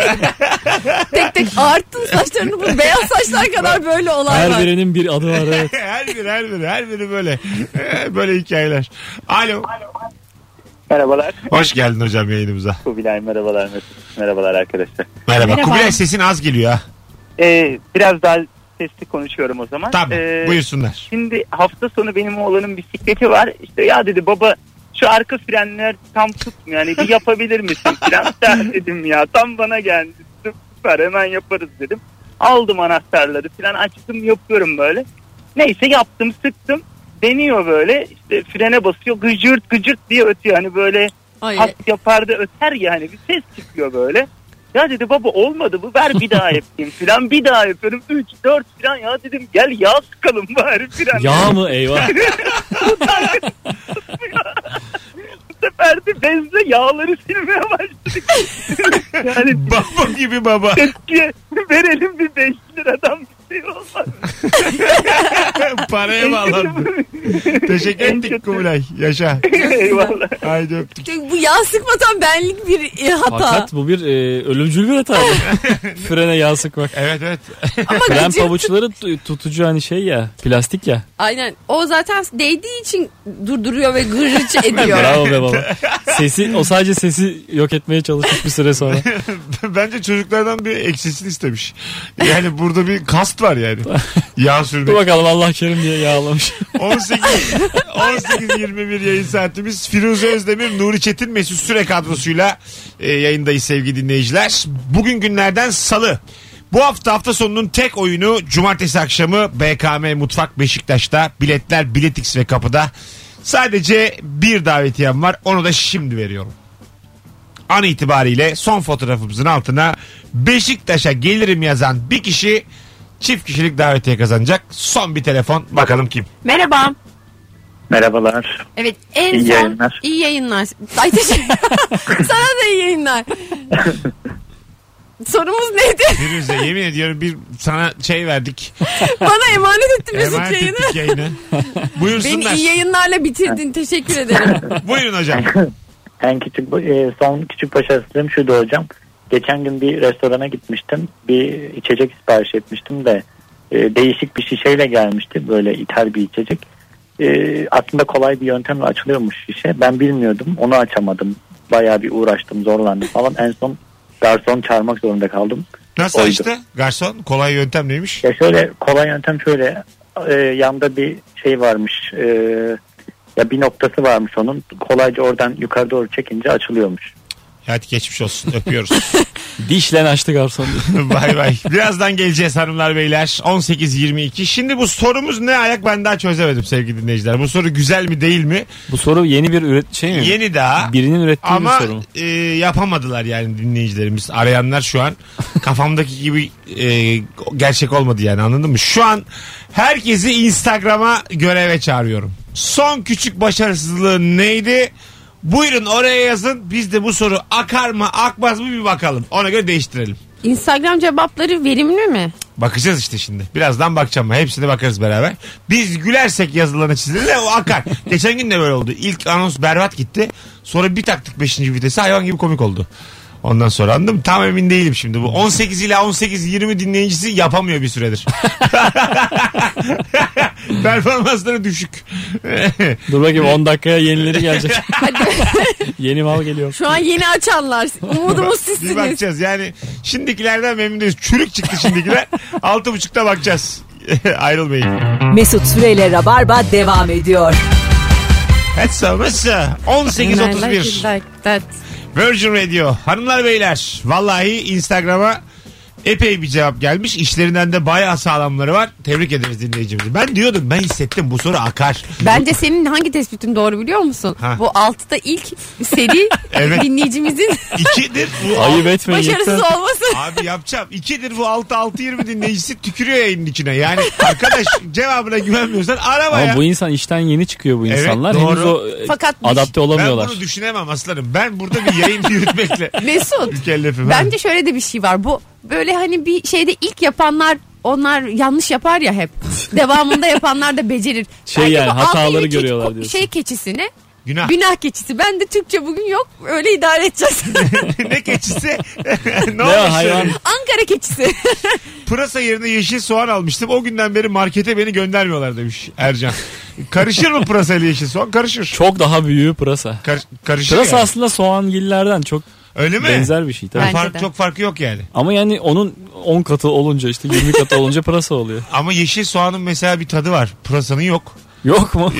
Speaker 3: Tek tek ağarttın saçlarını bu beyaz saçlar kadar böyle olay
Speaker 4: Her
Speaker 3: var.
Speaker 4: birinin bir adı var
Speaker 2: *laughs*
Speaker 4: evet.
Speaker 2: her biri her biri her biri böyle. E, böyle hikayeler. Alo.
Speaker 7: Merhabalar.
Speaker 2: Hoş geldin hocam yayınımıza.
Speaker 7: Kubilay merhabalar. Mesut, Merhabalar arkadaşlar.
Speaker 2: Merhaba.
Speaker 7: Merhaba.
Speaker 2: Kubilay sesin az geliyor ha.
Speaker 7: Ee, biraz daha sesli konuşuyorum o zaman.
Speaker 2: Tamam
Speaker 7: Ee,
Speaker 2: buyursunlar.
Speaker 7: Şimdi hafta sonu benim oğlanın bisikleti var. İşte ya dedi baba şu arka frenler tam tutmuyor. Yani bir yapabilir misin filan? *laughs* Ya dedim ya tam bana geldi. Süper hemen yaparız dedim. Aldım anahtarları filan açtım yapıyorum böyle. Neyse yaptım sıktım. Deniyor böyle işte frene basıyor gıcırt gıcırt diye ötüyor. Hani böyle
Speaker 3: Ay,
Speaker 7: hat yapar da öter yani bir ses çıkıyor böyle. Ya dedi baba olmadı bu ver bir daha yapayım filan bir daha yapıyorum 3 4 filan ya dedim gel yağ sıkalım bari filan.
Speaker 4: Yağ mı eyvah.
Speaker 7: Bu sefer de bezle yağları silmeye başladık. yani
Speaker 2: Baba gibi baba.
Speaker 7: tepkiye *laughs* verelim bir 5 liradan bir şey
Speaker 6: *laughs*
Speaker 7: olmaz.
Speaker 2: *laughs* Paraya bağlandı. Teşekkür
Speaker 7: En
Speaker 2: ettik
Speaker 7: kötü.
Speaker 2: Kubilay. Yaşa.
Speaker 7: Eyvallah.
Speaker 2: Haydi öptük.
Speaker 3: bu yağ sıkmadan benlik bir e, hata.
Speaker 4: Fakat bu bir e, ölümcül
Speaker 2: *laughs*
Speaker 4: bir hata. Frene yağ sıkmak.
Speaker 2: Evet evet.
Speaker 3: Ama
Speaker 4: Fren
Speaker 3: gıcırt-
Speaker 4: pabuçları tu- tutucu hani şey ya plastik ya.
Speaker 3: Aynen. O zaten değdiği için durduruyor
Speaker 2: *laughs*
Speaker 3: ve gırgırç ediyor.
Speaker 4: Bravo be baba. Sesi, o sadece sesi yok etmeye çalışmış bir süre *laughs* sonra.
Speaker 2: *laughs* Bence çocuklardan bir eksisini istemiş. Yani burada bir kast var *laughs* yani. Yağ
Speaker 4: Dur
Speaker 2: sürmek.
Speaker 4: bakalım Allah kerim diye yağlamış.
Speaker 2: 18 18.21 yayın saatimiz. Firuze Özdemir, Nuri Çetin, Mesut Süre kadrosuyla e, yayındayız sevgili dinleyiciler. Bugün günlerden salı. Bu hafta hafta sonunun tek oyunu cumartesi akşamı BKM Mutfak Beşiktaş'ta. Biletler Biletix ve kapıda. Sadece bir davetiyem var. Onu da şimdi veriyorum. An itibariyle son fotoğrafımızın altına Beşiktaş'a gelirim yazan bir kişi çift kişilik davetiye kazanacak. Son bir telefon bakalım kim?
Speaker 3: Merhaba.
Speaker 7: Merhabalar.
Speaker 3: Evet en
Speaker 7: İyi
Speaker 3: son
Speaker 7: yayınlar.
Speaker 3: iyi yayınlar. Ay *laughs* teşekkür Sana da iyi yayınlar. *laughs* Sorumuz
Speaker 2: *laughs*
Speaker 3: neydi?
Speaker 2: Firuze yemin ediyorum bir sana şey
Speaker 3: *laughs*
Speaker 2: verdik.
Speaker 3: Bana emanet ettin
Speaker 2: Emanet
Speaker 3: müzik yayını.
Speaker 2: ettik
Speaker 3: *laughs*
Speaker 2: yayını.
Speaker 3: Beni
Speaker 2: Buyursunlar.
Speaker 3: iyi yayınlarla bitirdin.
Speaker 2: *laughs*
Speaker 3: Teşekkür ederim.
Speaker 2: Buyurun hocam.
Speaker 8: En küçük e, son küçük başarısızlığım şuydu hocam. Geçen gün bir restorana gitmiştim. Bir içecek sipariş etmiştim de e, değişik bir şişeyle gelmişti. Böyle ithal bir içecek. E, aslında kolay bir yöntemle açılıyormuş şişe. Ben bilmiyordum. Onu açamadım. Bayağı bir uğraştım, zorlandım falan. En son garson çağırmak zorunda kaldım.
Speaker 2: Nasıl
Speaker 8: Oydu.
Speaker 2: açtı? Garson kolay yöntem neymiş?
Speaker 8: Ya şöyle kolay yöntem şöyle e, yanda bir şey varmış. E, ya bir noktası varmış onun. Kolayca oradan yukarı doğru çekince açılıyormuş.
Speaker 2: Hadi geçmiş olsun. Öpüyoruz. *laughs*
Speaker 4: Dişlen açtı garson.
Speaker 2: bay bay. Birazdan geleceğiz hanımlar beyler. 18.22. Şimdi bu sorumuz ne ayak ben daha çözemedim sevgili dinleyiciler. Bu soru güzel mi değil mi?
Speaker 4: Bu soru yeni bir üret şey mi?
Speaker 2: Yeni daha.
Speaker 4: Birinin ürettiği
Speaker 2: Ama
Speaker 4: bir soru mu?
Speaker 2: e, yapamadılar yani dinleyicilerimiz. Arayanlar şu an kafamdaki gibi e, gerçek olmadı yani anladın mı? Şu an herkesi Instagram'a göreve çağırıyorum. Son küçük başarısızlığı neydi? Buyurun oraya yazın. Biz de bu soru akar mı akmaz mı bir bakalım. Ona göre değiştirelim.
Speaker 3: Instagram cevapları verimli mi?
Speaker 2: Bakacağız işte şimdi. Birazdan bakacağım ben. Hepsine bakarız beraber. Biz gülersek yazılarına çizilir o akar. Geçen gün de böyle oldu. İlk anons berbat gitti. Sonra bir taktık 5. vitesi hayvan gibi komik oldu. Ondan sonra anladın mı? Tam emin değilim şimdi. Bu 18 ile 18-20 dinleyicisi yapamıyor bir süredir. Performansları düşük.
Speaker 4: Dur bakayım 10 dakikaya yenileri gelecek. *laughs* Yeni mal geliyor.
Speaker 3: Şu an yeni açanlar. Umudumuz
Speaker 2: bir
Speaker 3: sizsiniz.
Speaker 2: bakacağız. Yani şimdikilerden memnun değiliz. Çürük çıktı şimdikiler. 6.30'da bakacağız. *laughs* Ayrılmayın.
Speaker 1: Mesut Süreyle Rabarba devam ediyor.
Speaker 2: That's so much.
Speaker 3: And I like
Speaker 2: 18.31
Speaker 3: it like that.
Speaker 2: Virgin Radio. Hanımlar beyler vallahi Instagram'a epey bir cevap gelmiş. İşlerinden de bayağı sağlamları var. Tebrik ederiz dinleyicimizi. Ben diyordum ben hissettim bu soru akar.
Speaker 3: Bence senin hangi tespitin doğru biliyor musun?
Speaker 2: Ha.
Speaker 3: Bu altıda ilk seri
Speaker 2: *laughs* Evet.
Speaker 3: dinleyicimizin
Speaker 2: İkidir
Speaker 4: *laughs*
Speaker 2: bu.
Speaker 4: Ayıp etmeyin.
Speaker 3: başarısız
Speaker 4: yeter.
Speaker 3: olması.
Speaker 2: Abi yapacağım. İkidir bu 6-6-20 dinleyicisi tükürüyor yayının içine. Yani arkadaş cevabına güvenmiyorsan arama ya.
Speaker 4: Ama bu insan işten yeni çıkıyor bu
Speaker 2: Evet,
Speaker 4: insanlar.
Speaker 2: doğru.
Speaker 4: Henüz o e,
Speaker 3: Fakat
Speaker 4: adapte
Speaker 2: ben
Speaker 4: olamıyorlar.
Speaker 2: bunu düşünemem aslanım. Ben burada bir yayın *laughs* yürütmekle
Speaker 3: Mesut
Speaker 2: mükellefim. ha.
Speaker 3: bence şöyle de bir şey var. Bu böyle hani bir şeyde ilk yapanlar onlar yanlış yapar ya hep. Devamında yapanlar da becerir.
Speaker 4: *laughs* Şey
Speaker 3: Belki
Speaker 4: yani,
Speaker 3: bu altı
Speaker 4: hataları
Speaker 3: yeni keçi-
Speaker 4: görüyorlar
Speaker 3: ko-
Speaker 4: diyorsun.
Speaker 3: Şey keçisini
Speaker 2: Günah.
Speaker 3: günah keçisi. Ben de Türkçe bugün yok öyle idare
Speaker 4: *laughs*
Speaker 3: edeceğiz.
Speaker 2: *laughs* ne keçisi? *laughs* ne,
Speaker 4: Ne
Speaker 2: olmuş
Speaker 4: hayvan.
Speaker 2: öyle?
Speaker 3: Ankara keçisi.
Speaker 2: Pırasa yerine yeşil soğan almıştım. O günden beri markete beni göndermiyorlar demiş Ercan. Karışır mı pırasa ile yeşil soğan? Karışır.
Speaker 4: Çok daha büyüğü pırasa.
Speaker 2: Kar- karışır
Speaker 4: Pırasa
Speaker 2: yani.
Speaker 4: aslında soğangillerden çok
Speaker 2: Öyle mi?
Speaker 4: benzer bir şey tabii.
Speaker 3: Bence
Speaker 2: Fark,
Speaker 3: de.
Speaker 2: çok farkı yok yani.
Speaker 4: Ama yani onun 10 katı olunca işte 20 katı olunca pırasa oluyor.
Speaker 2: Ama yeşil soğanın mesela bir tadı var. Pırasanın yok. *laughs*
Speaker 4: Yok mu?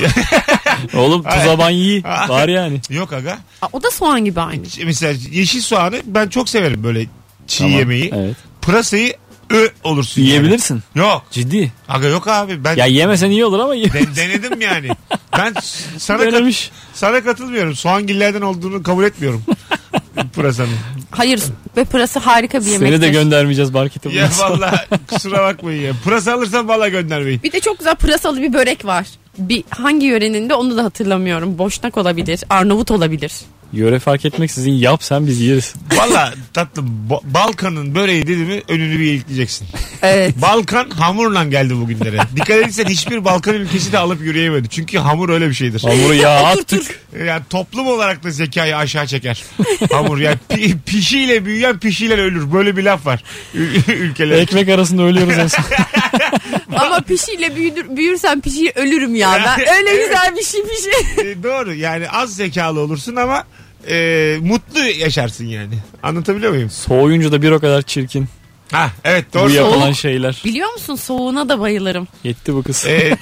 Speaker 4: Oğlum tuza ban iyi. Var yani.
Speaker 2: Yok aga.
Speaker 3: Aa, O da soğan gibi aynı.
Speaker 2: Mesela yeşil soğanı ben çok severim böyle çiğ
Speaker 4: Tamam.
Speaker 2: yemeği.
Speaker 4: Evet.
Speaker 2: Pırasayı ö olursun. yani.
Speaker 4: Yiyebilirsin.
Speaker 2: Yok.
Speaker 4: Ciddi.
Speaker 2: Aga yok abi. Ben
Speaker 4: Ya yemesen iyi olur ama *laughs* ye.
Speaker 2: de- denedim yani. Ben s- sana, kat-
Speaker 4: Denemiş.
Speaker 2: sana katılmıyorum. Soğangillerden olduğunu kabul
Speaker 4: *laughs*
Speaker 2: etmiyorum. Pırasanın.
Speaker 3: Hayır ve pırası harika bir yemektir.
Speaker 4: Seni de göndermeyeceğiz markete. bundan
Speaker 2: Ya
Speaker 4: sonra.
Speaker 2: valla kusura bakmayın ya. Pırasa alırsan valla göndermeyin.
Speaker 3: Bir de çok güzel pırasalı bir börek var. Bir hangi yöreninde onu da hatırlamıyorum. Boşnak olabilir, Arnavut
Speaker 4: *laughs*
Speaker 3: olabilir.
Speaker 4: Yöre fark etmek sizin yap sen biz yeriz.
Speaker 2: Valla tatlım Ba- Balkan'ın böreği dedi mi önünü bir ilikleyeceksin.
Speaker 3: Evet.
Speaker 2: Balkan hamurla geldi bugünlere. Dikkat edilsen hiçbir Balkan ülkesi de alıp yürüyemedi. Çünkü hamur öyle bir şeydir.
Speaker 3: *laughs*
Speaker 4: Hamuru yağa attık.
Speaker 2: Yani toplum olarak da zekayı aşağı çeker. Hamur yani pi- pişiyle büyüyen pişiyle ölür. Böyle bir laf var. Ü- ülkeler.
Speaker 4: Ekmek arasında ölüyoruz
Speaker 2: *laughs*
Speaker 4: en son.
Speaker 3: Ama pişiyle büyüdür, büyürsem pişi ölürüm ya.
Speaker 4: *laughs*
Speaker 3: Ben öyle güzel bir şey pişi.
Speaker 2: E, doğru yani az zekalı olursun ama e, mutlu yaşarsın yani. Anlatabiliyor muyum?
Speaker 4: Soğuyunca da bir o kadar çirkin.
Speaker 2: Ha evet
Speaker 4: Bu
Speaker 2: doğru.
Speaker 4: yapılan şeyler.
Speaker 3: Biliyor musun soğuğuna da bayılırım.
Speaker 4: Yetti bu kız.
Speaker 2: E,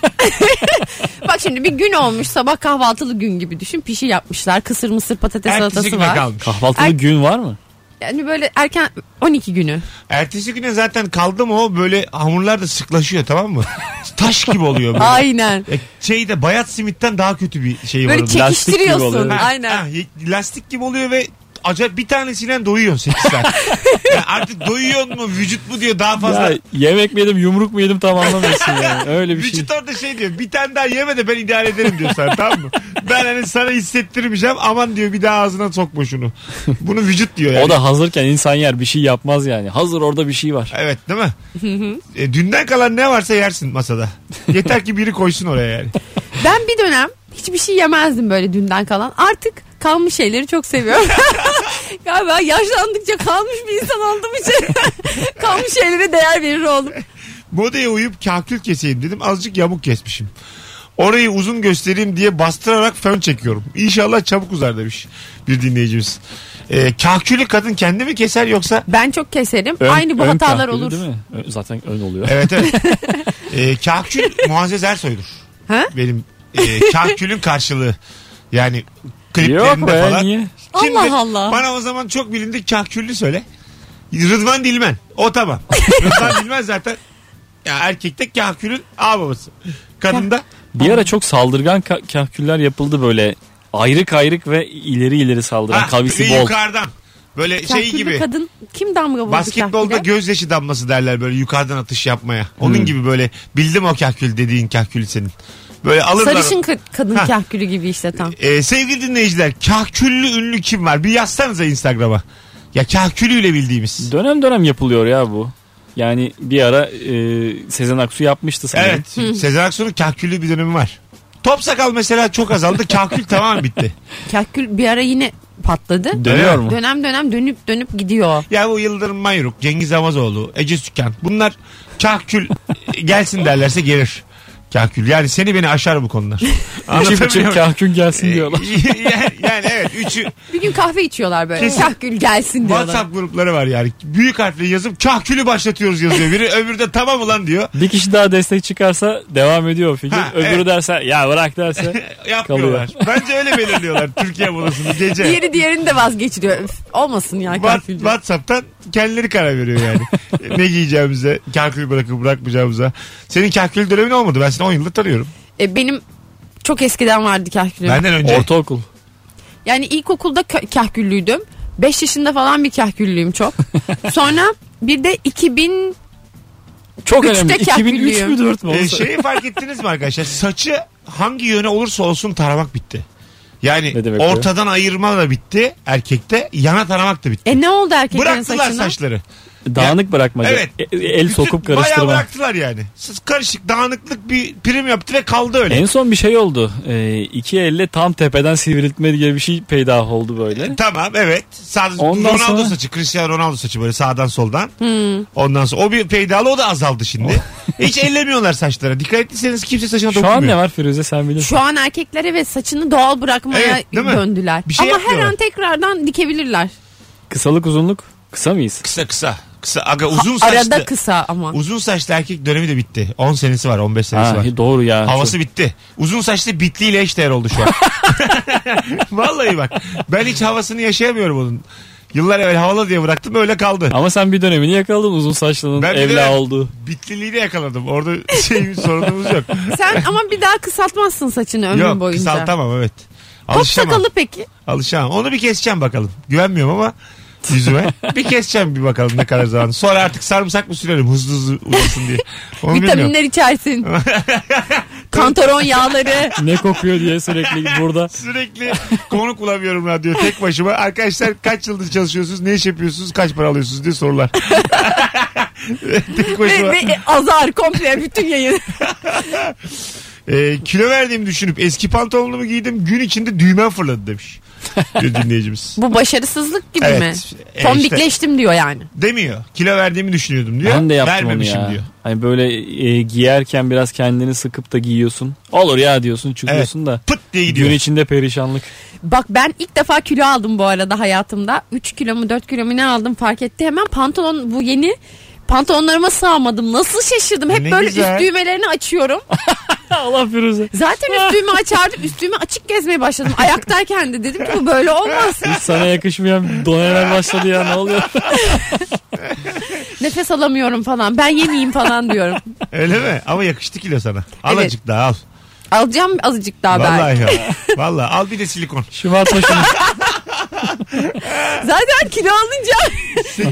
Speaker 3: Bak şimdi bir gün olmuş sabah kahvaltılı gün gibi düşün. Pişi yapmışlar. Kısır mısır patates
Speaker 2: ertesi
Speaker 3: salatası
Speaker 2: güne
Speaker 3: var.
Speaker 2: kalmış.
Speaker 4: Kahvaltılı
Speaker 3: Ay-
Speaker 4: gün var mı?
Speaker 3: Yani böyle erken 12 günü.
Speaker 2: Ertesi güne zaten kaldı mı o böyle hamurlar da sıklaşıyor tamam
Speaker 4: *laughs*
Speaker 2: mı? Taş gibi oluyor böyle.
Speaker 3: Aynen.
Speaker 2: E, Şeyde bayat simitten daha kötü bir şey var.
Speaker 3: Böyle
Speaker 2: onun.
Speaker 4: lastik gibi
Speaker 3: çekiştiriyorsun.
Speaker 4: oluyor.
Speaker 2: Ha, ha,
Speaker 3: Aynen.
Speaker 2: ye- lastik gibi oluyor ve acayip bir tanesiyle doyuyorsun 8
Speaker 3: *laughs*
Speaker 2: saat. Yani artık doyuyor mu vücut mu diyor daha fazla.
Speaker 4: Ya yemek mi yedim yumruk mu yedim tam anlamıyorsun yani. Öyle bir şey.
Speaker 2: Vücut orada şey diyor bir tane daha yeme de ben idare ederim diyor sana tamam mı? Ben hani sana hissettirmeyeceğim aman diyor bir daha ağzına sokma şunu. Bunu vücut diyor yani.
Speaker 4: O da hazırken insan yer bir şey yapmaz yani. Hazır orada bir şey var.
Speaker 2: Evet değil mi? E, dünden kalan ne varsa yersin masada. Yeter ki biri koysun oraya yani.
Speaker 3: Ben bir dönem hiçbir şey yemezdim böyle dünden kalan. Artık kalmış şeyleri çok seviyorum. *laughs* Galiba yaşlandıkça kalmış bir insan olduğum için *laughs* kalmış şeylere değer verir oldum.
Speaker 2: Modaya uyup kahkül keseyim dedim. Azıcık yamuk kesmişim. Orayı uzun göstereyim diye bastırarak fön çekiyorum. İnşallah çabuk uzar demiş bir dinleyicimiz. Ee, kahkülü kadın kendi mi keser yoksa?
Speaker 3: Ben çok keserim.
Speaker 4: Ön-
Speaker 3: Aynı bu
Speaker 4: ön
Speaker 3: hatalar
Speaker 4: kahveli
Speaker 3: olur.
Speaker 4: Değil mi? Ö- Zaten ön oluyor.
Speaker 2: Evet evet. ee, kahkül Muazzez Ersoy'dur.
Speaker 3: Ha?
Speaker 2: Benim e, kahkülün karşılığı. Yani kliplerinde
Speaker 4: Yok be
Speaker 2: falan.
Speaker 4: niye?
Speaker 3: Allah Allah.
Speaker 2: Bana o zaman çok bilindik kahküllü söyle. Rıdvan Dilmen. O
Speaker 3: *laughs*
Speaker 2: tamam. Rıdvan Dilmen zaten ya erkekte kahkülün ağababası. Kadında
Speaker 4: Bir ara çok saldırgan ka- kahküller yapıldı böyle. Ayrık ayrık ve ileri ileri saldıran kavisi
Speaker 2: ve
Speaker 4: bol.
Speaker 2: yukarıdan. Böyle şey
Speaker 3: Kahküllü
Speaker 2: gibi.
Speaker 3: kadın kim damga vurdu
Speaker 2: Basketbolda
Speaker 3: kahküle?
Speaker 2: gözyaşı damlası derler böyle yukarıdan atış yapmaya. Onun
Speaker 3: Hmm.
Speaker 2: gibi böyle bildim o kahkül dediğin kahkül senin. Böyle alırlar.
Speaker 3: Sarışın ka- kadın
Speaker 2: Ha.
Speaker 3: kahkülü gibi işte tam.
Speaker 2: Ee, sevgili dinleyiciler kahküllü ünlü kim var? Bir yazsanıza Instagram'a. Ya kahkülüyle bildiğimiz.
Speaker 4: Dönem dönem yapılıyor ya bu. Yani bir ara e, Sezen Aksu yapmıştı sanırım. *laughs*
Speaker 2: Evet. Sezen Aksu'nun kahküllü bir dönemi var. Top sakal mesela çok azaldı.
Speaker 4: *laughs*
Speaker 2: Kahkül tamamen bitti.
Speaker 3: Kahkül bir ara yine patladı.
Speaker 4: Dönüyor
Speaker 2: Evet.
Speaker 4: mu?
Speaker 3: Dönem dönem dönüp dönüp gidiyor.
Speaker 2: Ya bu Yıldırım Mayruk, Cengiz Amazoğlu, Ece Sükan. Bunlar kahkül e, gelsin derlerse gelir. Kahkül. Yani seni beni aşar bu
Speaker 4: *laughs*
Speaker 2: konular.
Speaker 4: İki buçuk
Speaker 2: Anlatabiliyor
Speaker 4: kahkül
Speaker 2: E,
Speaker 4: gelsin diyorlar.
Speaker 2: muyum? *laughs* yani, yani evet.
Speaker 4: *laughs*
Speaker 2: Üçü
Speaker 3: Bir gün kahve içiyorlar böyle.
Speaker 2: Kesin.
Speaker 3: Kahkül gelsin diyorlar.
Speaker 2: WhatsApp grupları var yani. Büyük harfle yazıp kahkülü başlatıyoruz yazıyor biri. Öbürü de tamam ulan diyor.
Speaker 4: Bir kişi daha destek çıkarsa devam ediyor o fikir.
Speaker 2: Ha,
Speaker 4: Öbürü
Speaker 2: evet.
Speaker 4: derse ya bırak derse
Speaker 2: Yapmıyorlar. Bence öyle belirliyorlar Türkiye
Speaker 4: *laughs*
Speaker 2: molasını gece.
Speaker 3: Diğeri diğerini de vazgeçiriyor. Öf, olmasın ya
Speaker 2: What-
Speaker 3: kahkül.
Speaker 2: WhatsApp'tan kendileri karar veriyor yani. ne giyeceğimize, kahkül bırakıp bırakmayacağımıza. Senin kahkül dönemin olmadı. Ben seni 10 yıldır tanıyorum.
Speaker 3: E, benim çok eskiden vardı kahkülüm.
Speaker 2: Benden *laughs* önce.
Speaker 4: ortaokul.
Speaker 3: Yani ilkokulda kah- kahküllüydüm. 5 yaşında falan bir
Speaker 2: *laughs*
Speaker 3: kahküllüyüm çok. Sonra bir de 2000
Speaker 4: Çok
Speaker 3: Üçte
Speaker 4: önemli. 2003
Speaker 3: kahküllüyüm.
Speaker 4: mü 4 mü?
Speaker 2: Ee,
Speaker 4: Olsa-
Speaker 2: şeyi fark ettiniz mi arkadaşlar? Saçı hangi yöne olursa olsun taramak bitti. Yani
Speaker 4: Ne demek
Speaker 2: ortadan ayırma da bitti erkekte. Yana taramak da bitti.
Speaker 3: e ne oldu erkeklerin
Speaker 2: Bıraktılar
Speaker 3: saçına?
Speaker 2: saçları.
Speaker 4: Dağınık bırakmaca.
Speaker 2: Evet.
Speaker 4: E- e- El sokup
Speaker 2: Bütün- Bayağı
Speaker 4: karıştırma.
Speaker 2: bıraktılar yani. Siz karışık dağınıklık bir prim yaptı ve kaldı öyle.
Speaker 4: En son bir şey oldu. Ee, iki elle tam tepeden sivriltme diye bir şey peydah oldu böyle.
Speaker 2: Tamam evet. Sağ,
Speaker 4: Ondan
Speaker 2: Ronaldo
Speaker 4: sonra-
Speaker 2: saçı, Cristiano Ronaldo saçı böyle sağdan soldan.
Speaker 3: Hmm.
Speaker 2: Ondan sonra o bir peydalı o da azaldı şimdi. *laughs* Hiç ellemiyorlar saçlara. Dikkat ettiyseniz kimse saçına
Speaker 4: Oh. Şu
Speaker 2: dokunmuyor.
Speaker 4: an ne var Firuze sen bilirsin.
Speaker 3: Şu an erkeklere evet saçını doğal bırakmaya
Speaker 2: Evet, değil mi?
Speaker 3: döndüler.
Speaker 2: Bir şey
Speaker 3: Ama her
Speaker 2: yapmıyorlar.
Speaker 3: an tekrardan dikebilirler.
Speaker 4: Kısalık uzunluk kısa mıyız?
Speaker 2: Kısa kısa. Kısa aga uzun saçlı.
Speaker 3: Arada kısa ama.
Speaker 2: Uzun saçlı erkek dönemi de bitti. 10 senesi var 15 senesi
Speaker 4: Ha,
Speaker 2: var.
Speaker 4: doğru ya.
Speaker 2: Havası bitti. Uzun saçlı bitliyle eşdeğer oldu şu an. *laughs* Vallahi bak. Ben hiç havasını yaşayamıyorum onun. Yıllar evvel havalı diye bıraktım öyle kaldı.
Speaker 4: Ama sen bir dönemini yakaladın uzun saçlının
Speaker 2: Ben bir
Speaker 4: evla
Speaker 2: dönem-
Speaker 4: oldu.
Speaker 2: Bitliliği de yakaladım. Orada şey sorunumuz yok.
Speaker 4: *laughs*
Speaker 3: Sen ama bir daha kısaltmazsın saçını ömrün
Speaker 2: Yok
Speaker 3: boyunca.
Speaker 2: kısaltamam evet.
Speaker 3: Top
Speaker 2: Alışamam.
Speaker 3: sakalı peki.
Speaker 2: Alışamam. Onu bir keseceğim bakalım. Güvenmiyorum ama
Speaker 3: *laughs*
Speaker 2: yüzüme. bir keseceğim bir bakalım ne kadar zaman. Sonra artık sarımsak mı sürerim hızlı hızlı uzasın diye.
Speaker 3: *laughs*
Speaker 2: Onu bilmiyorum. *laughs*
Speaker 3: Vitaminler içersin. Kantaron yağları.
Speaker 4: Ne kokuyor diye sürekli burada.
Speaker 2: Sürekli konuk bulamıyorum radyo tek başıma. Arkadaşlar kaç yıldır çalışıyorsunuz, ne iş yapıyorsunuz, kaç para alıyorsunuz diye
Speaker 3: *laughs*
Speaker 2: sorular. tek
Speaker 3: ve,
Speaker 2: başıma.
Speaker 3: ve azar komple bütün yayın.
Speaker 2: Ee, kilo verdiğimi düşünüp eski pantolonumu giydim gün içinde düğmen fırladı demiş.
Speaker 3: *laughs*
Speaker 2: Bir dinleyicimiz.
Speaker 3: Bu başarısızlık gibi
Speaker 2: Evet,
Speaker 3: mi?
Speaker 2: e,
Speaker 3: Tombikleştim diyor yani.
Speaker 2: Demiyor. Kilo verdiğimi düşünüyordum *laughs* diyor.
Speaker 4: Ben de yaptım onu
Speaker 2: Vermemişim
Speaker 4: ya.
Speaker 2: diyor.
Speaker 4: Hani böyle e, giyerken biraz kendini sıkıp da giyiyorsun. Olur ya diyorsun çıkıyorsun da.
Speaker 2: Pıt diye gidiyor.
Speaker 4: Gün
Speaker 2: *laughs*
Speaker 4: içinde perişanlık.
Speaker 3: Bak ben ilk defa kilo aldım bu arada hayatımda. 3 kilo mu 4 kilo mu ne aldım fark etti. Hemen pantolon bu yeni pantolonlarıma sığamadım. Nasıl şaşırdım. Hep
Speaker 2: Ne
Speaker 3: böyle
Speaker 2: güzel.
Speaker 3: üst
Speaker 2: *laughs*
Speaker 3: düğmelerini açıyorum.
Speaker 4: Allah Firuze.
Speaker 3: Zaten üst düğümü açardım. Üst düğümü açık gezmeye başladım. Ayaktayken de dedim ki bu böyle olmaz.
Speaker 4: Hiç sana yakışmayan doneler başladı ya ne
Speaker 2: *laughs*
Speaker 4: oluyor?
Speaker 3: Nefes alamıyorum falan. Ben yeniyim falan diyorum.
Speaker 2: Öyle mi? Ama yakıştı kilo sana. Al azıcık daha al.
Speaker 3: *laughs* Alacağım azıcık daha ben. *laughs*
Speaker 2: Vallahi ya. Vallahi al bir de silikon.
Speaker 4: Şubat şunu.
Speaker 3: Zaten kilo alınca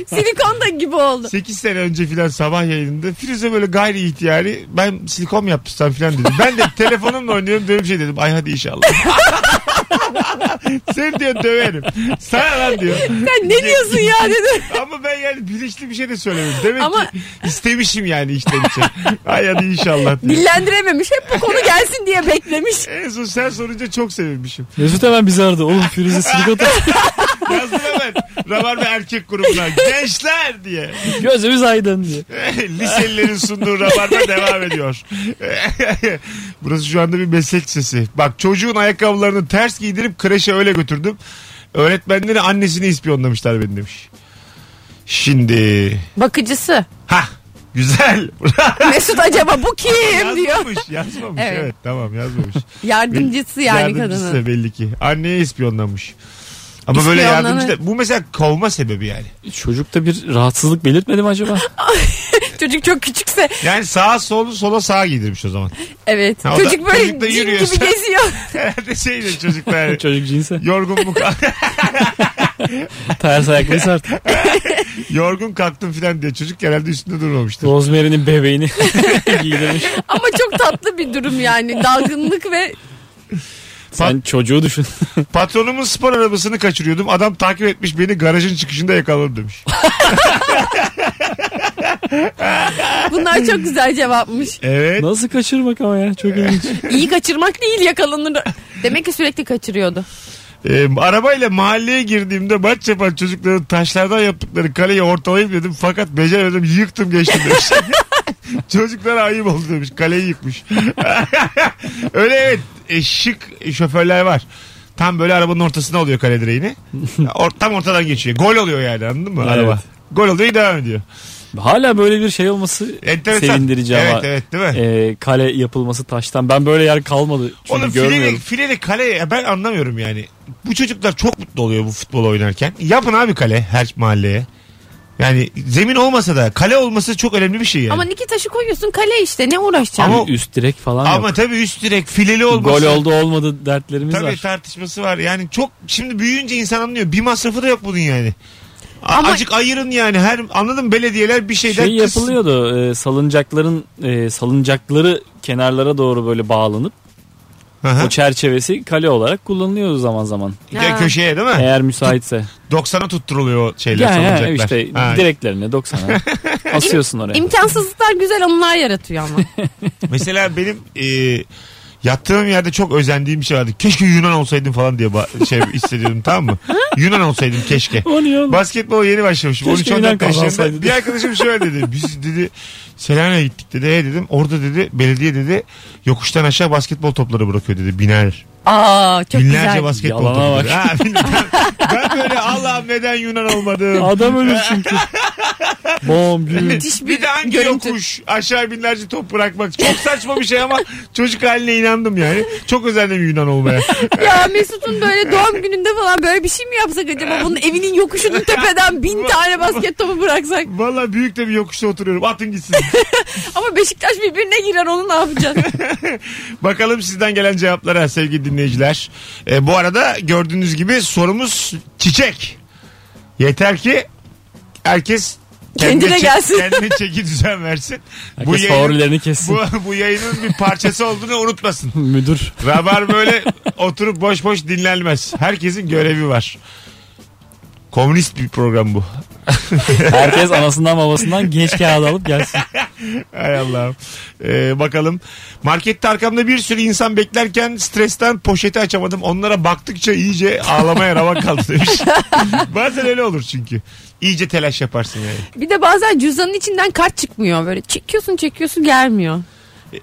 Speaker 3: *laughs* silikon da gibi oldu.
Speaker 2: 8 sene önce filan sabah yayınında Firuze böyle gayri ihtiyari ben silikon mu yaptırsam filan dedim. Ben de telefonumla oynuyorum böyle bir şey dedim. Ay hadi inşallah. *laughs* Sen diyor döverim. Sana lan diyor.
Speaker 3: Sen ne diyorsun
Speaker 2: *laughs*
Speaker 3: ya dedim.
Speaker 2: Ama ben yani bilinçli bir şey de söylemedim. Demek
Speaker 3: Ama-
Speaker 2: ki istemişim yani içten içe. Ay hadi inşallah diyor.
Speaker 3: Dillendirememiş. Hep bu konu gelsin diye beklemiş.
Speaker 2: En son sen sorunca çok sevinmişim.
Speaker 4: Mesut hemen bizi aradı. Oğlum Firuze silikota *laughs*
Speaker 2: Yazdım hemen. Rabar ve erkek grubuna. Gençler diye.
Speaker 4: gözümüz aydın diye.
Speaker 2: *laughs* Liselilerin sunduğu
Speaker 3: *laughs*
Speaker 2: rabarba devam ediyor. *laughs* Burası şu anda bir meslek sesi. Bak çocuğun ayakkabılarını ters giydirip kreşe öyle götürdüm. Öğretmenleri annesini ispiyonlamışlar beni demiş. Şimdi
Speaker 3: Bakıcısı.
Speaker 2: ha güzel. *laughs*
Speaker 3: Mesut acaba bu kim diyor.
Speaker 2: yazmamış, yazmamış. Evet.
Speaker 3: Evet.
Speaker 2: tamam yazmamış.
Speaker 3: Yardımcısı *laughs* yani
Speaker 2: Yardımcısı
Speaker 3: kadının.
Speaker 2: da belli ki. Anneye ispiyonlanmış. Ama böyle
Speaker 3: İspiyonlanı-
Speaker 2: yardımcı da bu mesela kovma sebebi yani.
Speaker 4: Çocukta bir rahatsızlık belirtmedi mi *laughs* acaba?
Speaker 3: Çocuk çok küçükse
Speaker 2: Yani sağa solu sola sağa giydirmiş o zaman. *laughs*
Speaker 3: evet.
Speaker 2: Ha, o da-
Speaker 3: çocuk böyle
Speaker 2: çocuk da
Speaker 3: cin gibi
Speaker 2: yürüyorsa- *laughs*
Speaker 3: geziyor.
Speaker 2: Herhalde şeydi
Speaker 3: *laughs*
Speaker 2: çocuklar.
Speaker 4: Çocuk cinse.
Speaker 2: Yorgunluk
Speaker 4: Ters ayaklıysa artık.
Speaker 2: Yorgun kalktım filan diye çocuk herhalde üstünde durmamıştır.
Speaker 4: Rosemary'nin bebeğini *laughs* giydirmiş.
Speaker 3: Ama çok tatlı bir durum yani. Dalgınlık ve
Speaker 4: Sen çocuğu düşün.
Speaker 2: Patronumun spor arabasını kaçırıyordum. Adam takip etmiş beni garajın çıkışında yakaladı demiş.
Speaker 3: bunlar çok güzel cevapmış.
Speaker 2: Evet.
Speaker 4: *laughs* Nasıl kaçırmak ama ya çok ilginç.
Speaker 3: İyi kaçırmak değil yakalanır. Demek ki sürekli kaçırıyordu.
Speaker 2: Ee, arabayla mahalleye girdiğimde maç yapan çocukların taşlardan yaptıkları kaleyi ortalayayım dedim. Fakat beceremedim yıktım geçtim demiş. Çocuklara ayıp oldu demiş. Kaleyi yıkmış. *laughs* Öyle evet e, şık şoförler var. Tam böyle arabanın ortasına oluyor kale direğini. Or- tam ortadan geçiyor. Gol oluyor yani anladın mı
Speaker 4: Evet.
Speaker 2: araba? Gol oluyor devam ediyor.
Speaker 4: Hala böyle bir şey olması
Speaker 2: Enteresan.
Speaker 4: sevindirici
Speaker 2: evet,
Speaker 4: ama.
Speaker 2: Evet değil mi?
Speaker 4: e, kale yapılması taştan. Ben böyle yer kalmadı. Çünkü
Speaker 2: Oğlum fileli,
Speaker 4: görmüyorum.
Speaker 2: fileli kale ya ben anlamıyorum yani. Bu çocuklar çok mutlu oluyor bu futbol oynarken. Yapın abi kale her mahalleye. Yani zemin olmasa da kale olması çok önemli bir şey yani.
Speaker 3: Ama
Speaker 2: Ama,
Speaker 3: iki taşı koyuyorsun kale işte ne uğraşacaksın?
Speaker 2: Ama-
Speaker 4: Üst direk falan yok.
Speaker 2: tabii üst direk fileli olması.
Speaker 4: Gol oldu olmadı dertlerimiz
Speaker 2: Tabii
Speaker 4: var.
Speaker 2: tartışması var. Yani çok şimdi büyüyünce insan anlıyor. Bir masrafı da yok bunun yani. A-
Speaker 3: Ama-
Speaker 2: Azıcık ayırın yani. Her anladım belediyeler bir şeyden
Speaker 4: Şey
Speaker 2: kıssın.
Speaker 4: yapılıyordu. e, salıncakların e, salıncakları kenarlara doğru böyle bağlanıp
Speaker 2: Aha.
Speaker 4: O çerçevesi kale olarak kullanılıyor zaman zaman.
Speaker 2: Ya
Speaker 3: Ha.
Speaker 2: köşeye değil mi? *laughs*
Speaker 4: Eğer müsaitse.
Speaker 2: 90'a tutturuluyor o şeyler
Speaker 4: Yani
Speaker 2: salıncaklar.
Speaker 4: ha, işte
Speaker 2: Ha.
Speaker 4: direklerini
Speaker 2: *laughs*
Speaker 4: 90'a asıyorsun oraya.
Speaker 3: İmkansızlıklar güzel anılar yaratıyor ama.
Speaker 2: Mesela benim e, yattığım yerde çok özendiğim bir şey vardı. Keşke Yunan olsaydım falan diye ba- şey hissediyordum tamam
Speaker 4: *laughs*
Speaker 2: mı? Yunan olsaydım keşke.
Speaker 4: O ne oğlum?
Speaker 2: Basketbol yeni başlamışım. 13
Speaker 4: Keşke
Speaker 2: 14
Speaker 4: Yunan
Speaker 2: yaşlarında.
Speaker 4: kazansaydı.
Speaker 2: Bir arkadaşım şöyle dedi. Biz dedi Selanik'e gittik dedi. He dedim. Orada dedi belediye dedi yokuştan aşağı basketbol topları bırakıyor dedi. Biner.
Speaker 3: Aa çok
Speaker 2: Binlerce
Speaker 3: güzel.
Speaker 2: basketbol
Speaker 4: Yalana
Speaker 2: topu.
Speaker 4: bak.
Speaker 2: dedi. Ha, bilmiyorum. ben böyle Allah'ım neden Yunan olmadım?
Speaker 4: Adam ölür çünkü.
Speaker 2: *laughs*
Speaker 4: Bom güm.
Speaker 3: Müthiş bir,
Speaker 2: Bir de hangi
Speaker 3: görüntü.
Speaker 2: yokuş aşağı binlerce top bırakmak çok saçma bir şey ama çocuk haline inandım yani. Çok özendim Yunan
Speaker 3: *laughs*
Speaker 2: olmaya.
Speaker 3: Ya Mesut'un böyle doğum gününde falan böyle bir şey mi yapsak acaba? Bunun evinin yokuşunun tepeden bin tane basket topu bıraksak.
Speaker 2: Valla büyük de bir yokuşta oturuyorum atın gitsin.
Speaker 3: Ama Beşiktaş birbirine girer onu ne yapacağız?
Speaker 2: Bakalım sizden gelen cevaplara sevgili dinleyiciler. E, bu arada gördüğünüz gibi sorumuz çiçek. Yeter ki herkes kendine,
Speaker 3: Kendine
Speaker 2: çek-
Speaker 3: gelsin.
Speaker 2: Kendine çeki düzen versin.
Speaker 4: Herkes
Speaker 2: yayın-
Speaker 4: favorilerini kessin.
Speaker 2: bu, bu yayının bir parçası olduğunu unutmasın.
Speaker 4: *laughs* Müdür.
Speaker 2: Rabar böyle oturup boş boş dinlenmez. Herkesin görevi var. Komünist bir program bu.
Speaker 4: Herkes anasından babasından geç kağıt
Speaker 2: *laughs*
Speaker 4: alıp gelsin.
Speaker 2: Hay Allah'ım. Ee, bakalım. Markette arkamda bir sürü insan beklerken stresten poşeti açamadım. Onlara baktıkça iyice ağlamaya ravan kaldı demiş. Bazen öyle olur çünkü. İyice telaş yaparsın yani.
Speaker 3: bir de bazen cüzdanın içinden kart çıkmıyor böyle. Çekiyorsun çekiyorsun gelmiyor.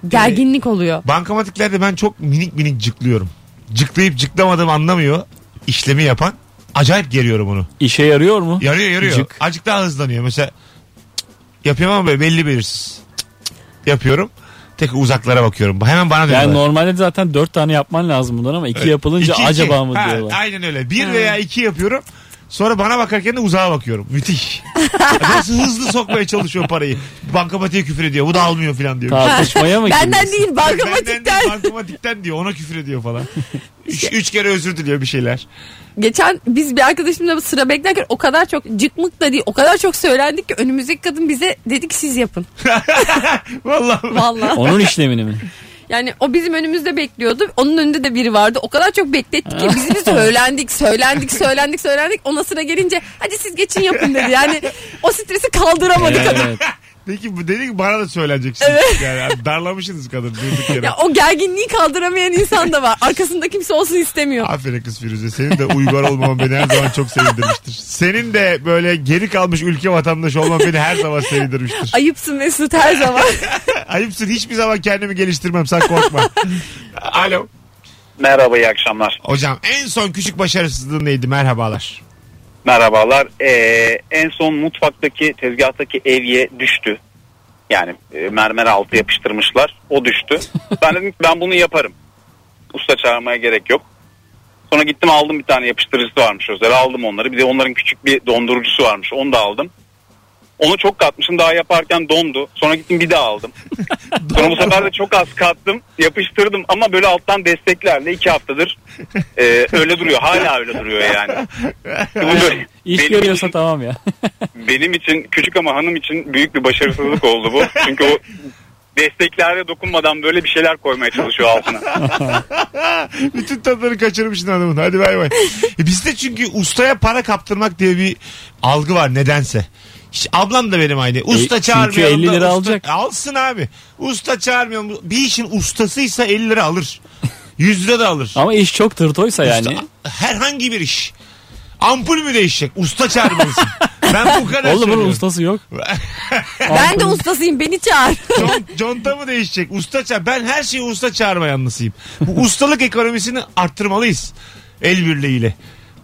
Speaker 3: Gerginlik oluyor.
Speaker 2: Bankamatiklerde ben çok minik minik cıklıyorum. Cıklayıp cıklamadığımı anlamıyor işlemi yapan. Acayip geriyorum onu.
Speaker 4: İşe yarıyor mu?
Speaker 2: Yarıyor yarıyor.
Speaker 4: Cık.
Speaker 2: Azıcık daha hızlanıyor. Mesela cık, yapıyorum ama böyle belli belirsiz. Cık, cık, cık yapıyorum. Tek uzaklara bakıyorum. Hemen bana dönüyorlar.
Speaker 4: Yani normalde zaten dört tane yapman lazım bundan ama iki yapılınca
Speaker 2: İki, iki.
Speaker 4: acaba mı
Speaker 2: Ha,
Speaker 4: diyorlar.
Speaker 2: Aynen öyle. Bir veya iki yapıyorum. Sonra bana bakarken de uzağa bakıyorum. Müthiş. Nasıl hızlı sokmaya çalışıyor parayı. Bankamatiğe küfür ediyor. Bu da almıyor falan diyor.
Speaker 4: Tartışmaya
Speaker 3: *laughs*
Speaker 4: mı
Speaker 3: Benden
Speaker 4: giriyorsun?
Speaker 3: değil
Speaker 2: Benden değil,
Speaker 3: bankamatikten.
Speaker 2: bankamatikten diyor. Ona küfür ediyor falan. Üç, üç kere özür diliyor bir şeyler.
Speaker 3: Geçen biz bir arkadaşımla sıra beklerken o kadar çok cıkmık da değil o kadar çok söylendik ki önümüzdeki kadın bize dedi ki siz yapın.
Speaker 2: Vallahi.
Speaker 3: Vallahi.
Speaker 4: Onun işlemini mi?
Speaker 3: Yani o bizim önümüzde bekliyordu. Onun önünde de biri vardı. O kadar çok beklettik ki biz biz söylendik, söylendik, söylendik, söylendik. Ona sıra gelince hadi siz geçin yapın dedi. Yani o stresi kaldıramadı kadın.
Speaker 4: Evet.
Speaker 2: Peki bu dedi ki bana da söyleneceksin. Yani darlamışsınız kadın durduk yere.
Speaker 3: Ya o gerginliği kaldıramayan insan da var. Arkasında kimse olsun istemiyor.
Speaker 2: Aferin kız Firuze. Senin de uygar olmaman beni her zaman çok sevindirmiştir. Senin de böyle geri kalmış ülke vatandaşı olman beni her zaman sevindirmiştir.
Speaker 3: Ayıpsın Mesut her zaman.
Speaker 2: *laughs* Ayıpsın hiçbir zaman kendimi geliştirmem sen korkma. Alo.
Speaker 6: Merhaba iyi akşamlar.
Speaker 2: Hocam en son küçük başarısızlığın neydi? Merhabalar.
Speaker 6: Merhabalar. Ee, en son mutfaktaki tezgahtaki evye düştü. Yani e, mermer altı yapıştırmışlar. O düştü. Ben dedim ki ben bunu yaparım. Usta çağırmaya gerek yok. Sonra gittim aldım bir tane yapıştırıcısı varmış özel aldım onları. Bir de onların küçük bir dondurucusu varmış onu da aldım. Onu çok katmışım daha yaparken dondu. Sonra gittim bir daha aldım. Sonra bu sefer de çok az kattım yapıştırdım ama böyle alttan desteklerle iki haftadır e, öyle duruyor. Hala öyle duruyor yani. Bu böyle-
Speaker 4: İş
Speaker 6: benim
Speaker 4: görüyorsa
Speaker 6: için-
Speaker 4: tamam ya.
Speaker 6: benim için küçük ama hanım için büyük bir başarısızlık oldu bu. Çünkü o desteklerde dokunmadan böyle bir şeyler koymaya çalışıyor altına.
Speaker 2: Bütün tadları kaçırmışsın adamın. Hadi bay bay. E Bizde çünkü ustaya para kaptırmak diye bir algı var nedense. İşte ablam da benim aynı. Usta
Speaker 4: E, çünkü
Speaker 2: çağırmıyor.
Speaker 4: 50 lira
Speaker 2: usta, E,
Speaker 4: alacak.
Speaker 2: Alsın abi. Usta çağırmıyor. Bir işin ustasıysa 50 lira alır. 100 lira da alır.
Speaker 4: Ama iş çok tırtoysa yani.
Speaker 2: Usta- herhangi bir iş. Ampul mü değişecek? Usta çağırmalısın. ben bu kadar
Speaker 4: Oğlum bunun
Speaker 2: söylüyorum.
Speaker 4: ustası yok.
Speaker 3: ben de ustasıyım beni çağır.
Speaker 2: Con- conta mı değişecek? Usta çağır. Ben her şeyi usta çağırma yanlısıyım. Bu ustalık ekonomisini arttırmalıyız. El birliğiyle.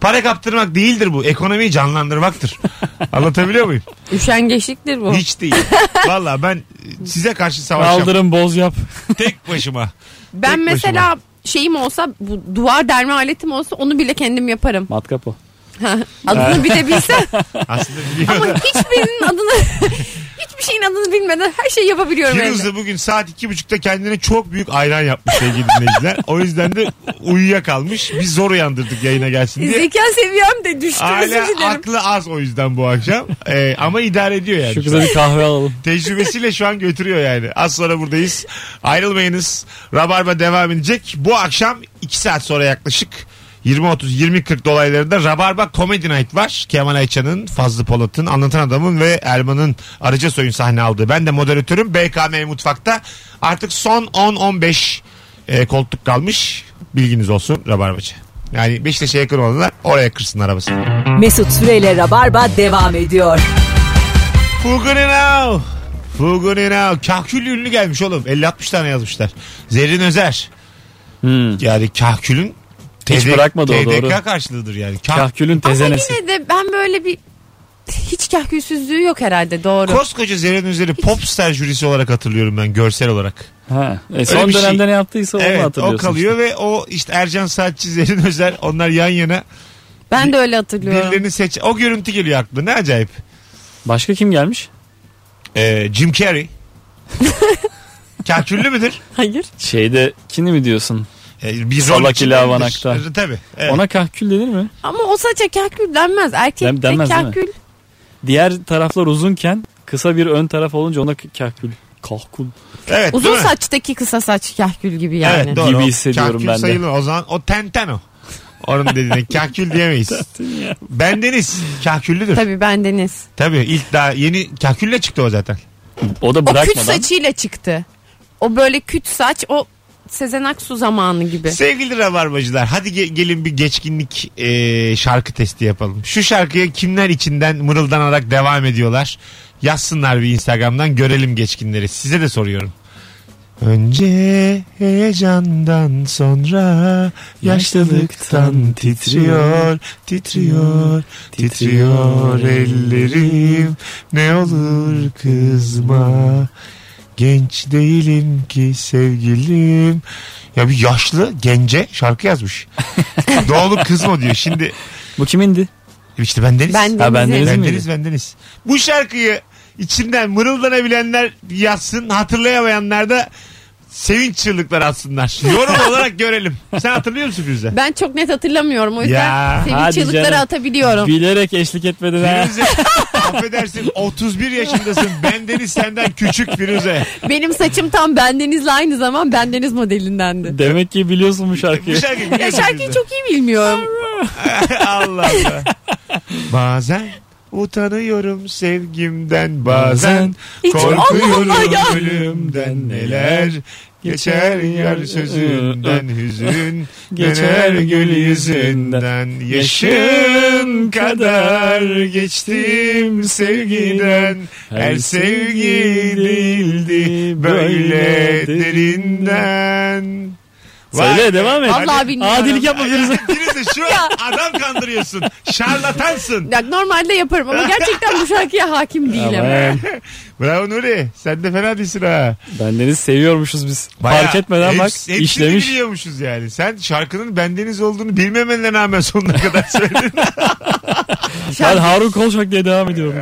Speaker 2: Para kaptırmak değildir bu. Ekonomiyi canlandırmaktır. Anlatabiliyor muyum?
Speaker 3: Üşengeçliktir bu.
Speaker 2: Hiç değil. Valla ben e, size karşı savaşacağım.
Speaker 4: Kaldırın boz yap.
Speaker 2: Tek başıma.
Speaker 3: ben
Speaker 2: tek
Speaker 3: mesela şeyim olsa bu duvar derme aletim olsa onu bile kendim yaparım.
Speaker 4: Matkap o.
Speaker 3: Adını bir de bilsem.
Speaker 2: *laughs* Aslında
Speaker 3: Ama
Speaker 2: biliyorum.
Speaker 3: hiçbirinin adını *laughs* Hiçbir şeyin adını bilmeden her şeyi yapabiliyorum evde.
Speaker 2: Firuze bugün saat iki buçukta kendine çok büyük ayran yapmış sevgili dinleyiciler. O yüzden de uyuyakalmış. Biz zor uyandırdık yayına gelsin diye.
Speaker 3: Zeka seviyem de düştü
Speaker 2: Hala
Speaker 3: özür dilerim.
Speaker 2: aklı az o yüzden bu akşam. Ee, ama idare ediyor yani.
Speaker 4: Şu kıza bir kahve alalım.
Speaker 2: Tecrübesiyle şu an götürüyor yani. Az sonra buradayız. Ayrılmayınız. Rabarba devam edecek. Bu akşam 2 saat sonra yaklaşık 20-30-20-40 dolaylarında Rabarba Comedy Night var. Kemal Ayça'nın, Fazlı Polat'ın, Anlatan Adam'ın ve Erman'ın Arıca Soy'un sahne aldığı. Ben de moderatörüm BKM Mutfak'ta. Artık son 10-15 e, koltuk kalmış. Bilginiz olsun Rabarbacı. Yani Beşiktaş'a yakın olanlar oraya kırsınlar arabasını.
Speaker 1: Mesut Süreyle Rabarba devam ediyor.
Speaker 2: Fugunino. Fugunino. Kahkül ünlü gelmiş oğlum. 50-60 tane yazmışlar. Zerrin Özer.
Speaker 4: Hmm.
Speaker 2: Yani kahkülün
Speaker 4: Hiç bırakmadı o,
Speaker 2: TDK
Speaker 4: doğru.
Speaker 2: karşılığıdır yani. Kah-
Speaker 4: Kahkülün
Speaker 3: Ama
Speaker 4: tezenesi.
Speaker 3: yine de ben böyle bir hiç kahkülsüzlüğü yok herhalde doğru.
Speaker 2: Koskoca Zerrin Özer'i popstar jürisi olarak hatırlıyorum ben görsel olarak.
Speaker 4: Ha. E, son
Speaker 2: bir şey.
Speaker 4: dönemde ne yaptıysa onu
Speaker 2: evet o
Speaker 4: hatırlıyorsun.
Speaker 2: kalıyor ve o işte Ercan Saatçi, Zerrin Özer onlar yan yana
Speaker 3: ben de öyle hatırlıyorum.
Speaker 2: birilerini seç. O görüntü geliyor aklına ne acayip.
Speaker 4: işte. Başka kim gelmiş?
Speaker 2: Ee, Jim Carrey. Kahküllü müdür?
Speaker 3: Hayır.
Speaker 4: Şeyde kini mi diyorsun?
Speaker 2: Ee, bir
Speaker 4: Salak
Speaker 2: rol için
Speaker 4: ila
Speaker 2: midir?
Speaker 4: vanakta.
Speaker 2: Tabii. Evet.
Speaker 4: Ona kahkül denir mi?
Speaker 3: Ama o saça kahkül denmez. Erkek
Speaker 4: Den- denmez değil mi?
Speaker 3: kahkül.
Speaker 4: Diğer taraflar uzunken kısa bir ön taraf olunca ona kahkül. Kahkul.
Speaker 2: Evet,
Speaker 3: Uzun
Speaker 2: değil mi?
Speaker 3: saçtaki kısa saç kahkül gibi yani.
Speaker 2: Evet, doğru.
Speaker 4: Gibi
Speaker 2: O
Speaker 4: hissediyorum
Speaker 2: kahkül
Speaker 4: ben de.
Speaker 2: sayılır. O zaman o tenten o. Onun
Speaker 4: *laughs*
Speaker 2: dediğine kahkül diyemeyiz. Bendeniz kahküllüdür. Tabii.
Speaker 3: Tabii ben Deniz.
Speaker 2: ilk daha yeni kahkülle çıktı o zaten.
Speaker 4: O da
Speaker 3: O küt
Speaker 4: bırakmadan.
Speaker 3: saçıyla çıktı. O böyle küt saç o Sezen Aksu zamanı gibi.
Speaker 2: Sevgili Rabarbacılar hadi ge- gelin bir geçkinlik e, şarkı testi yapalım. Şu şarkıya kimler içinden mırıldanarak devam ediyorlar? Yazsınlar bir Instagram'dan görelim geçkinleri. Size de soruyorum. Önce heyecandan sonra yaşlılıktan titriyor, titriyor, titriyor ellerim. Ne olur kızma. Genç değilim ki sevgilim. Ya bir yaşlı gence şarkı yazmış. Doğulu kızma diyor. Şimdi
Speaker 4: Bu kimindi?
Speaker 2: işte bendeniz.
Speaker 3: Ben
Speaker 4: Ha, ben
Speaker 3: Deniz'im.
Speaker 4: Deniz miydi?
Speaker 2: Bendeniz bendeniz. Bu şarkıyı içinden mırıldanabilenler yazsın. Hatırlayamayanlar da sevinç çığlıkları atsınlar. Yorum olarak görelim. Sen hatırlıyor musun Firuze?
Speaker 3: Ben çok net hatırlamıyorum o yüzden
Speaker 2: Ya,
Speaker 3: sevinç
Speaker 4: hadi
Speaker 3: çığlıkları
Speaker 4: canım.
Speaker 3: atabiliyorum.
Speaker 4: Bilerek eşlik etmedin ha.
Speaker 2: Firuze affedersin 31 yaşındasın. Bendeniz senden küçük Firuze.
Speaker 3: Benim saçım tam bendenizle aynı zaman bendeniz modelindendi.
Speaker 4: Demek ki biliyorsun bu şarkıyı.
Speaker 2: Bu şarkıyı biliyorsun
Speaker 3: Ya şarkıyı
Speaker 2: Firuze.
Speaker 3: çok iyi bilmiyorum.
Speaker 2: Allah
Speaker 3: *laughs*
Speaker 2: Allah. Bazen utanıyorum sevgimden bazen
Speaker 4: Bazen
Speaker 3: Hiç-
Speaker 2: korkuyorum
Speaker 3: Allah Allah ya.
Speaker 2: ölümden neler geçer yar sözünden hüzün geçer
Speaker 4: Geçer
Speaker 2: gül
Speaker 4: gül
Speaker 2: yüzünden yaşın kadar geçtim sevgiden her sevgi değildi böyle derinden Vay
Speaker 4: Söyle
Speaker 2: be.
Speaker 4: devam et.
Speaker 3: Vallahi bilmiyorum.
Speaker 4: Adilik yapma Firuze.
Speaker 2: Firuze
Speaker 4: *laughs*
Speaker 2: şu an adam kandırıyorsun. Şarlatansın.
Speaker 3: Ya normalde yaparım ama gerçekten bu
Speaker 2: *laughs*
Speaker 3: şarkıya hakim değilim.
Speaker 4: Aman.
Speaker 2: Bravo Nuri. Sen de fena değilsin ha.
Speaker 4: Bendeniz seviyormuşuz biz.
Speaker 2: Bayağı
Speaker 4: Fark etmeden
Speaker 2: heps-
Speaker 4: bak
Speaker 2: hepsini
Speaker 4: işlemiş.
Speaker 2: biliyormuşuz yani. Sen şarkının bendeniz olduğunu bilmemenle rağmen sonuna kadar
Speaker 4: *laughs*
Speaker 2: söyledin.
Speaker 4: Ben Harun Kolçak diye devam ediyorum.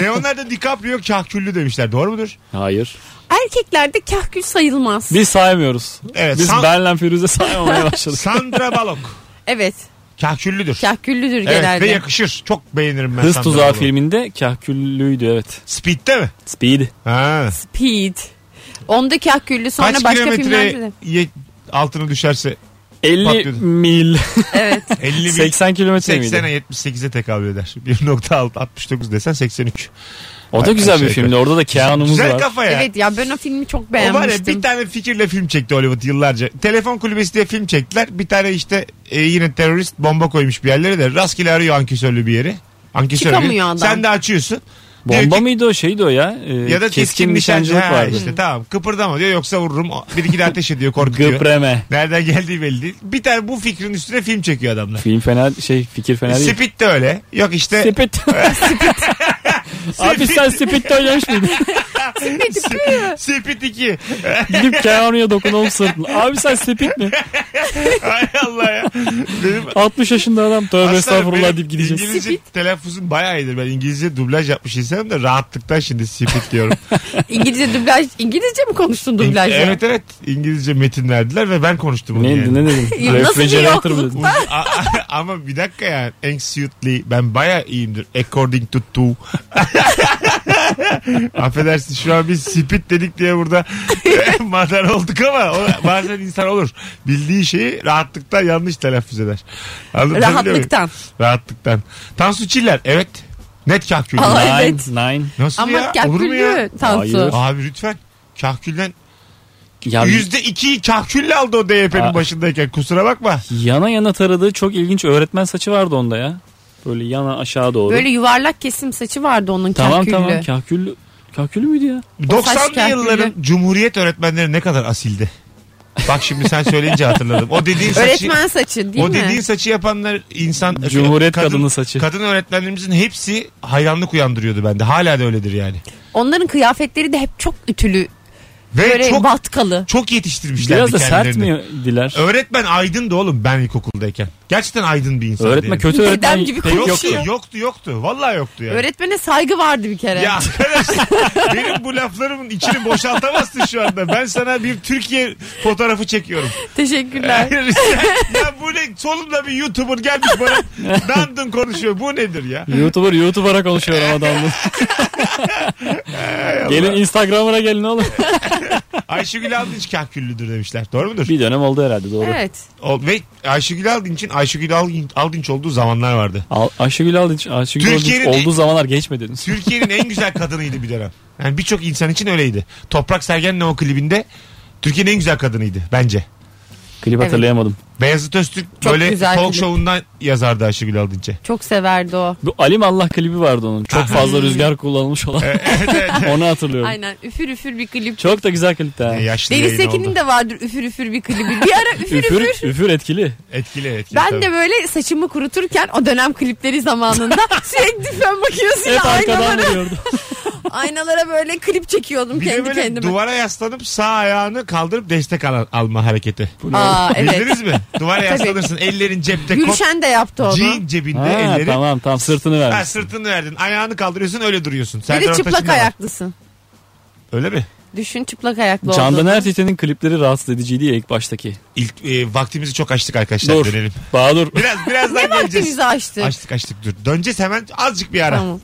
Speaker 2: Leonardo DiCaprio kahküllü demişler. Doğru mudur?
Speaker 4: Hayır.
Speaker 3: Erkeklerde kahkül sayılmaz.
Speaker 4: Biz saymıyoruz.
Speaker 2: Evet,
Speaker 4: Biz
Speaker 2: san-
Speaker 4: Benle Firuze saymamaya başladık.
Speaker 2: Sandra Balok.
Speaker 3: Evet
Speaker 2: Kahküllüdür.
Speaker 3: kahküllüdür
Speaker 2: Evet
Speaker 3: genelde.
Speaker 2: ve yakışır. Çok beğenirim *laughs* ben
Speaker 4: Hız
Speaker 2: Sandra
Speaker 4: Tuzağı
Speaker 2: Bullock'u.
Speaker 4: filminde kahküllüydü evet.
Speaker 2: Speed'de mi?
Speaker 4: Speed.
Speaker 2: Ha.
Speaker 3: Speed. Onda kahküllü sonra
Speaker 2: Kaç
Speaker 3: başka filmlerde
Speaker 2: kilometre
Speaker 3: de.
Speaker 2: ye- altına düşerse
Speaker 4: 50
Speaker 2: Patlıyordu.
Speaker 4: mil.
Speaker 2: 50 bin
Speaker 4: 80 kilometre miydi?
Speaker 2: 80'e 78'e tekabül eder. 1.6 69 desen 83.
Speaker 4: O da
Speaker 2: Ay,
Speaker 4: güzel
Speaker 2: şey-
Speaker 4: bir filmdi. Orada da Keanu'muz
Speaker 2: Güzel
Speaker 4: var.
Speaker 2: kafa ya.
Speaker 3: Evet ya ben o filmi çok
Speaker 2: O var ya
Speaker 3: beğenmiştim.
Speaker 2: bir tane fikirle film çekti Hollywood yıllarca. Telefon kulübesi diye film çektiler. Bir tane işte e, yine terörist bomba koymuş bir yerlere de rastgele arıyor ankesörlü bir yeri. Ankesör
Speaker 3: Çıkamıyor
Speaker 2: arıyor.
Speaker 3: adam.
Speaker 2: Sen de açıyorsun. Diyor
Speaker 4: Bomba
Speaker 2: ki-
Speaker 4: mıydı o şeydi o ya? Ee,
Speaker 2: Ya da keskin nişancılık
Speaker 4: var
Speaker 2: vardı. Işte, tamam kıpırdama diyor yoksa vururum. O- Bir iki de ateş ediyor korkutuyor.
Speaker 4: Gıpreme.
Speaker 2: Nereden geldiği belli değil. Bir tane bu fikrin üstüne film çekiyor adamlar.
Speaker 4: Film fena şey fikir fena değil.
Speaker 2: Speed de öyle. Yok işte
Speaker 4: Spit. *laughs* Abi sen Spit'te
Speaker 3: *laughs*
Speaker 4: oynamış mıydın?
Speaker 2: Speed 2.
Speaker 4: Gidip Keanu'ya dokunalım sırtına. Abi sen Spit mi?
Speaker 2: Ay Allah ya. Dedim,
Speaker 4: 60 yaşında adam tövbe
Speaker 2: Aslanım
Speaker 4: estağfurullah
Speaker 2: benim
Speaker 4: deyip gideceğim.
Speaker 2: İngilizce telaffuzum bayağı iyidir. Ben İngilizce dublaj yapmış insanım da rahatlıktan şimdi sipit
Speaker 3: *laughs*
Speaker 2: diyorum.
Speaker 3: İngilizce dublaj, İngilizce mi konuştun
Speaker 2: İng-
Speaker 3: dublajda?
Speaker 2: evet evet İngilizce metin verdiler ve ben konuştum onu yani.
Speaker 4: Neydi ne dedim?
Speaker 3: *laughs* Ya nasıl bir
Speaker 4: Refrigerator mı
Speaker 3: yokluk?
Speaker 4: dedim?
Speaker 2: Uz- A- *laughs* a- ama bir dakika yani anxiously ben bayağı iyiyimdir. According to two. *laughs* Affedersin şu an biz spit dedik diye burada *laughs* madar olduk ama o- bazen insan olur. Bildiği şeyi rahatlıktan yanlış telaffuz eder. Anlatabiliyor muyum?
Speaker 3: Rahatlıktan.
Speaker 2: Rahatlıkten. Tansu Çiller evet. Net kahkül.
Speaker 3: Aa,
Speaker 4: Nine,
Speaker 3: Evet.
Speaker 4: nine.
Speaker 2: Nasıl
Speaker 3: Ama
Speaker 2: ya? Olur mu ya?
Speaker 3: kahküllü Tansu.
Speaker 4: Hayır.
Speaker 2: Abi lütfen. Kahkülden
Speaker 4: Ya
Speaker 2: yüzde ikiyi kahkülle aldı o DYP'nin
Speaker 4: Aa.
Speaker 2: başındayken kusura bakma.
Speaker 4: yana yana taradığı çok ilginç öğretmen saçı vardı onda ya. Böyle yana aşağı doğru.
Speaker 3: Böyle yuvarlak kesim saçı vardı onun
Speaker 4: tamam
Speaker 3: kahküllü.
Speaker 4: tamam kahküllü. Kahküllü müydü ya?
Speaker 3: saç
Speaker 2: 90'lı
Speaker 3: kahkülü.
Speaker 2: yılların Cumhuriyet öğretmenleri ne kadar asildi. Bak şimdi sen söyleyince hatırladım. O dediğin saçı,
Speaker 3: Öğretmen saçı değil
Speaker 2: o
Speaker 3: mi?
Speaker 2: dediğin saçı yapanlar insan
Speaker 4: Cumhuriyet kadını saçı.
Speaker 2: Kadın öğretmenlerimizin hepsi hayranlık uyandırıyordu bende. Hala da öyledir yani.
Speaker 3: Onların kıyafetleri de hep çok ütülü.
Speaker 2: Ve
Speaker 3: Böyle
Speaker 2: çok
Speaker 3: batkalı.
Speaker 2: çok yetiştirmişler
Speaker 4: Biraz da
Speaker 2: kendilerini.
Speaker 4: sert mi diler?
Speaker 2: Öğretmen aydındı oğlum ben ilkokuldayken. Gerçekten aydın bir insan.
Speaker 4: Öğretmen kötü
Speaker 3: Dedem
Speaker 4: öğretmen
Speaker 3: gibi
Speaker 4: pek
Speaker 3: konuşuyor.
Speaker 4: yoktu.
Speaker 2: Yoktu, yoktu, yoktu. Vallahi yoktu yani.
Speaker 3: Öğretmene saygı vardı bir kere.
Speaker 2: Ya arkadaş benim bu laflarımın içini boşaltamazsın şu anda. Ben sana bir Türkiye fotoğrafı çekiyorum.
Speaker 3: Teşekkürler.
Speaker 2: *laughs* ya bu ne? Solumda bir YouTuber gelmiş bana dandın konuşuyor. Bu nedir ya?
Speaker 4: *laughs* YouTuber YouTuber'a konuşuyor
Speaker 3: *laughs*
Speaker 4: o adamla. gelin Instagram'ına gelin oğlum.
Speaker 2: Ayşegül Aldınç kahküllüdür demişler. Doğru mudur?
Speaker 4: Bir dönem oldu herhalde doğru.
Speaker 3: evet.
Speaker 2: O, ve Ayşegül Aldınç'ın Ayşegül Aldınç- Aldınç olduğu zamanlar vardı.
Speaker 4: Al, Ayşegül Aldınç, Ayşegül Aldınç
Speaker 2: Türkiye'nin-
Speaker 4: olduğu zamanlar geçmedi.
Speaker 2: Türkiye'nin en güzel kadınıydı bir dönem. Yani birçok insan için öyleydi. Toprak Sergen'le o klibinde Türkiye'nin en güzel kadınıydı bence.
Speaker 4: Klip hatırlayamadım.
Speaker 2: Beyazıt Öztürk
Speaker 3: Çok
Speaker 2: böyle
Speaker 3: güzel
Speaker 2: talk
Speaker 3: klip.
Speaker 2: show'undan yazardı Ayşegül Aldınç'a.
Speaker 3: Çok severdi o.
Speaker 4: Bu Alim Allah klibi vardı onun. Çok fazla rüzgar kullanılmış olan. *laughs* Onu hatırlıyorum.
Speaker 3: Aynen üfür üfür bir klip.
Speaker 4: Çok da güzel klipti ha.
Speaker 2: E, Yaşlı
Speaker 3: Deniz
Speaker 2: yayın
Speaker 3: Sekin'in
Speaker 2: oldu.
Speaker 3: de vardır üfür üfür bir klibi. Bir ara üfür üfür.
Speaker 4: Üfür, üfür etkili.
Speaker 2: Etkili etkili.
Speaker 3: Ben
Speaker 2: tabii.
Speaker 3: de böyle saçımı kuruturken o dönem klipleri zamanında sürekli fön makinesiyle
Speaker 4: Hep arkadan
Speaker 3: aynalara,
Speaker 4: vuruyordu.
Speaker 2: *laughs*
Speaker 3: aynalara böyle klip çekiyordum
Speaker 2: bir de
Speaker 3: kendi
Speaker 2: böyle
Speaker 3: kendime.
Speaker 2: duvara yaslanıp sağ ayağını kaldırıp destek al- alma hareketi.
Speaker 3: Aa evet.
Speaker 2: Bildiniz mi?
Speaker 3: *laughs*
Speaker 2: Duvara yaslanırsın ellerin cepte. kot-
Speaker 3: Gülşen de yaptı onu.
Speaker 2: Jean cebinde
Speaker 4: Ha,
Speaker 2: elleri.
Speaker 4: tamam tamam sırtını
Speaker 2: Ha,
Speaker 4: vermiş.
Speaker 2: sırtını verdin. Ayağını kaldırıyorsun öyle duruyorsun.
Speaker 3: Bir
Speaker 2: Serdar
Speaker 3: de
Speaker 2: Ortaç'ın
Speaker 3: çıplak
Speaker 2: da var.
Speaker 3: ayaklısın.
Speaker 2: Öyle mi?
Speaker 3: Düşün çıplak ayaklı
Speaker 4: Candan
Speaker 3: olduğunu.
Speaker 4: Ertite'nin klipleri rahatsız ediciydi ya ilk baştaki.
Speaker 2: İlk e, vaktimizi çok açtık arkadaşlar.
Speaker 4: Dur.
Speaker 2: Dönelim.
Speaker 4: Bahadur.
Speaker 2: Biraz birazdan
Speaker 3: *laughs* Ne
Speaker 2: geleceğiz.
Speaker 3: vaktimizi açtı.
Speaker 2: Açtık açtık dur. Döneceğiz hemen azıcık bir ara.
Speaker 3: Tamam.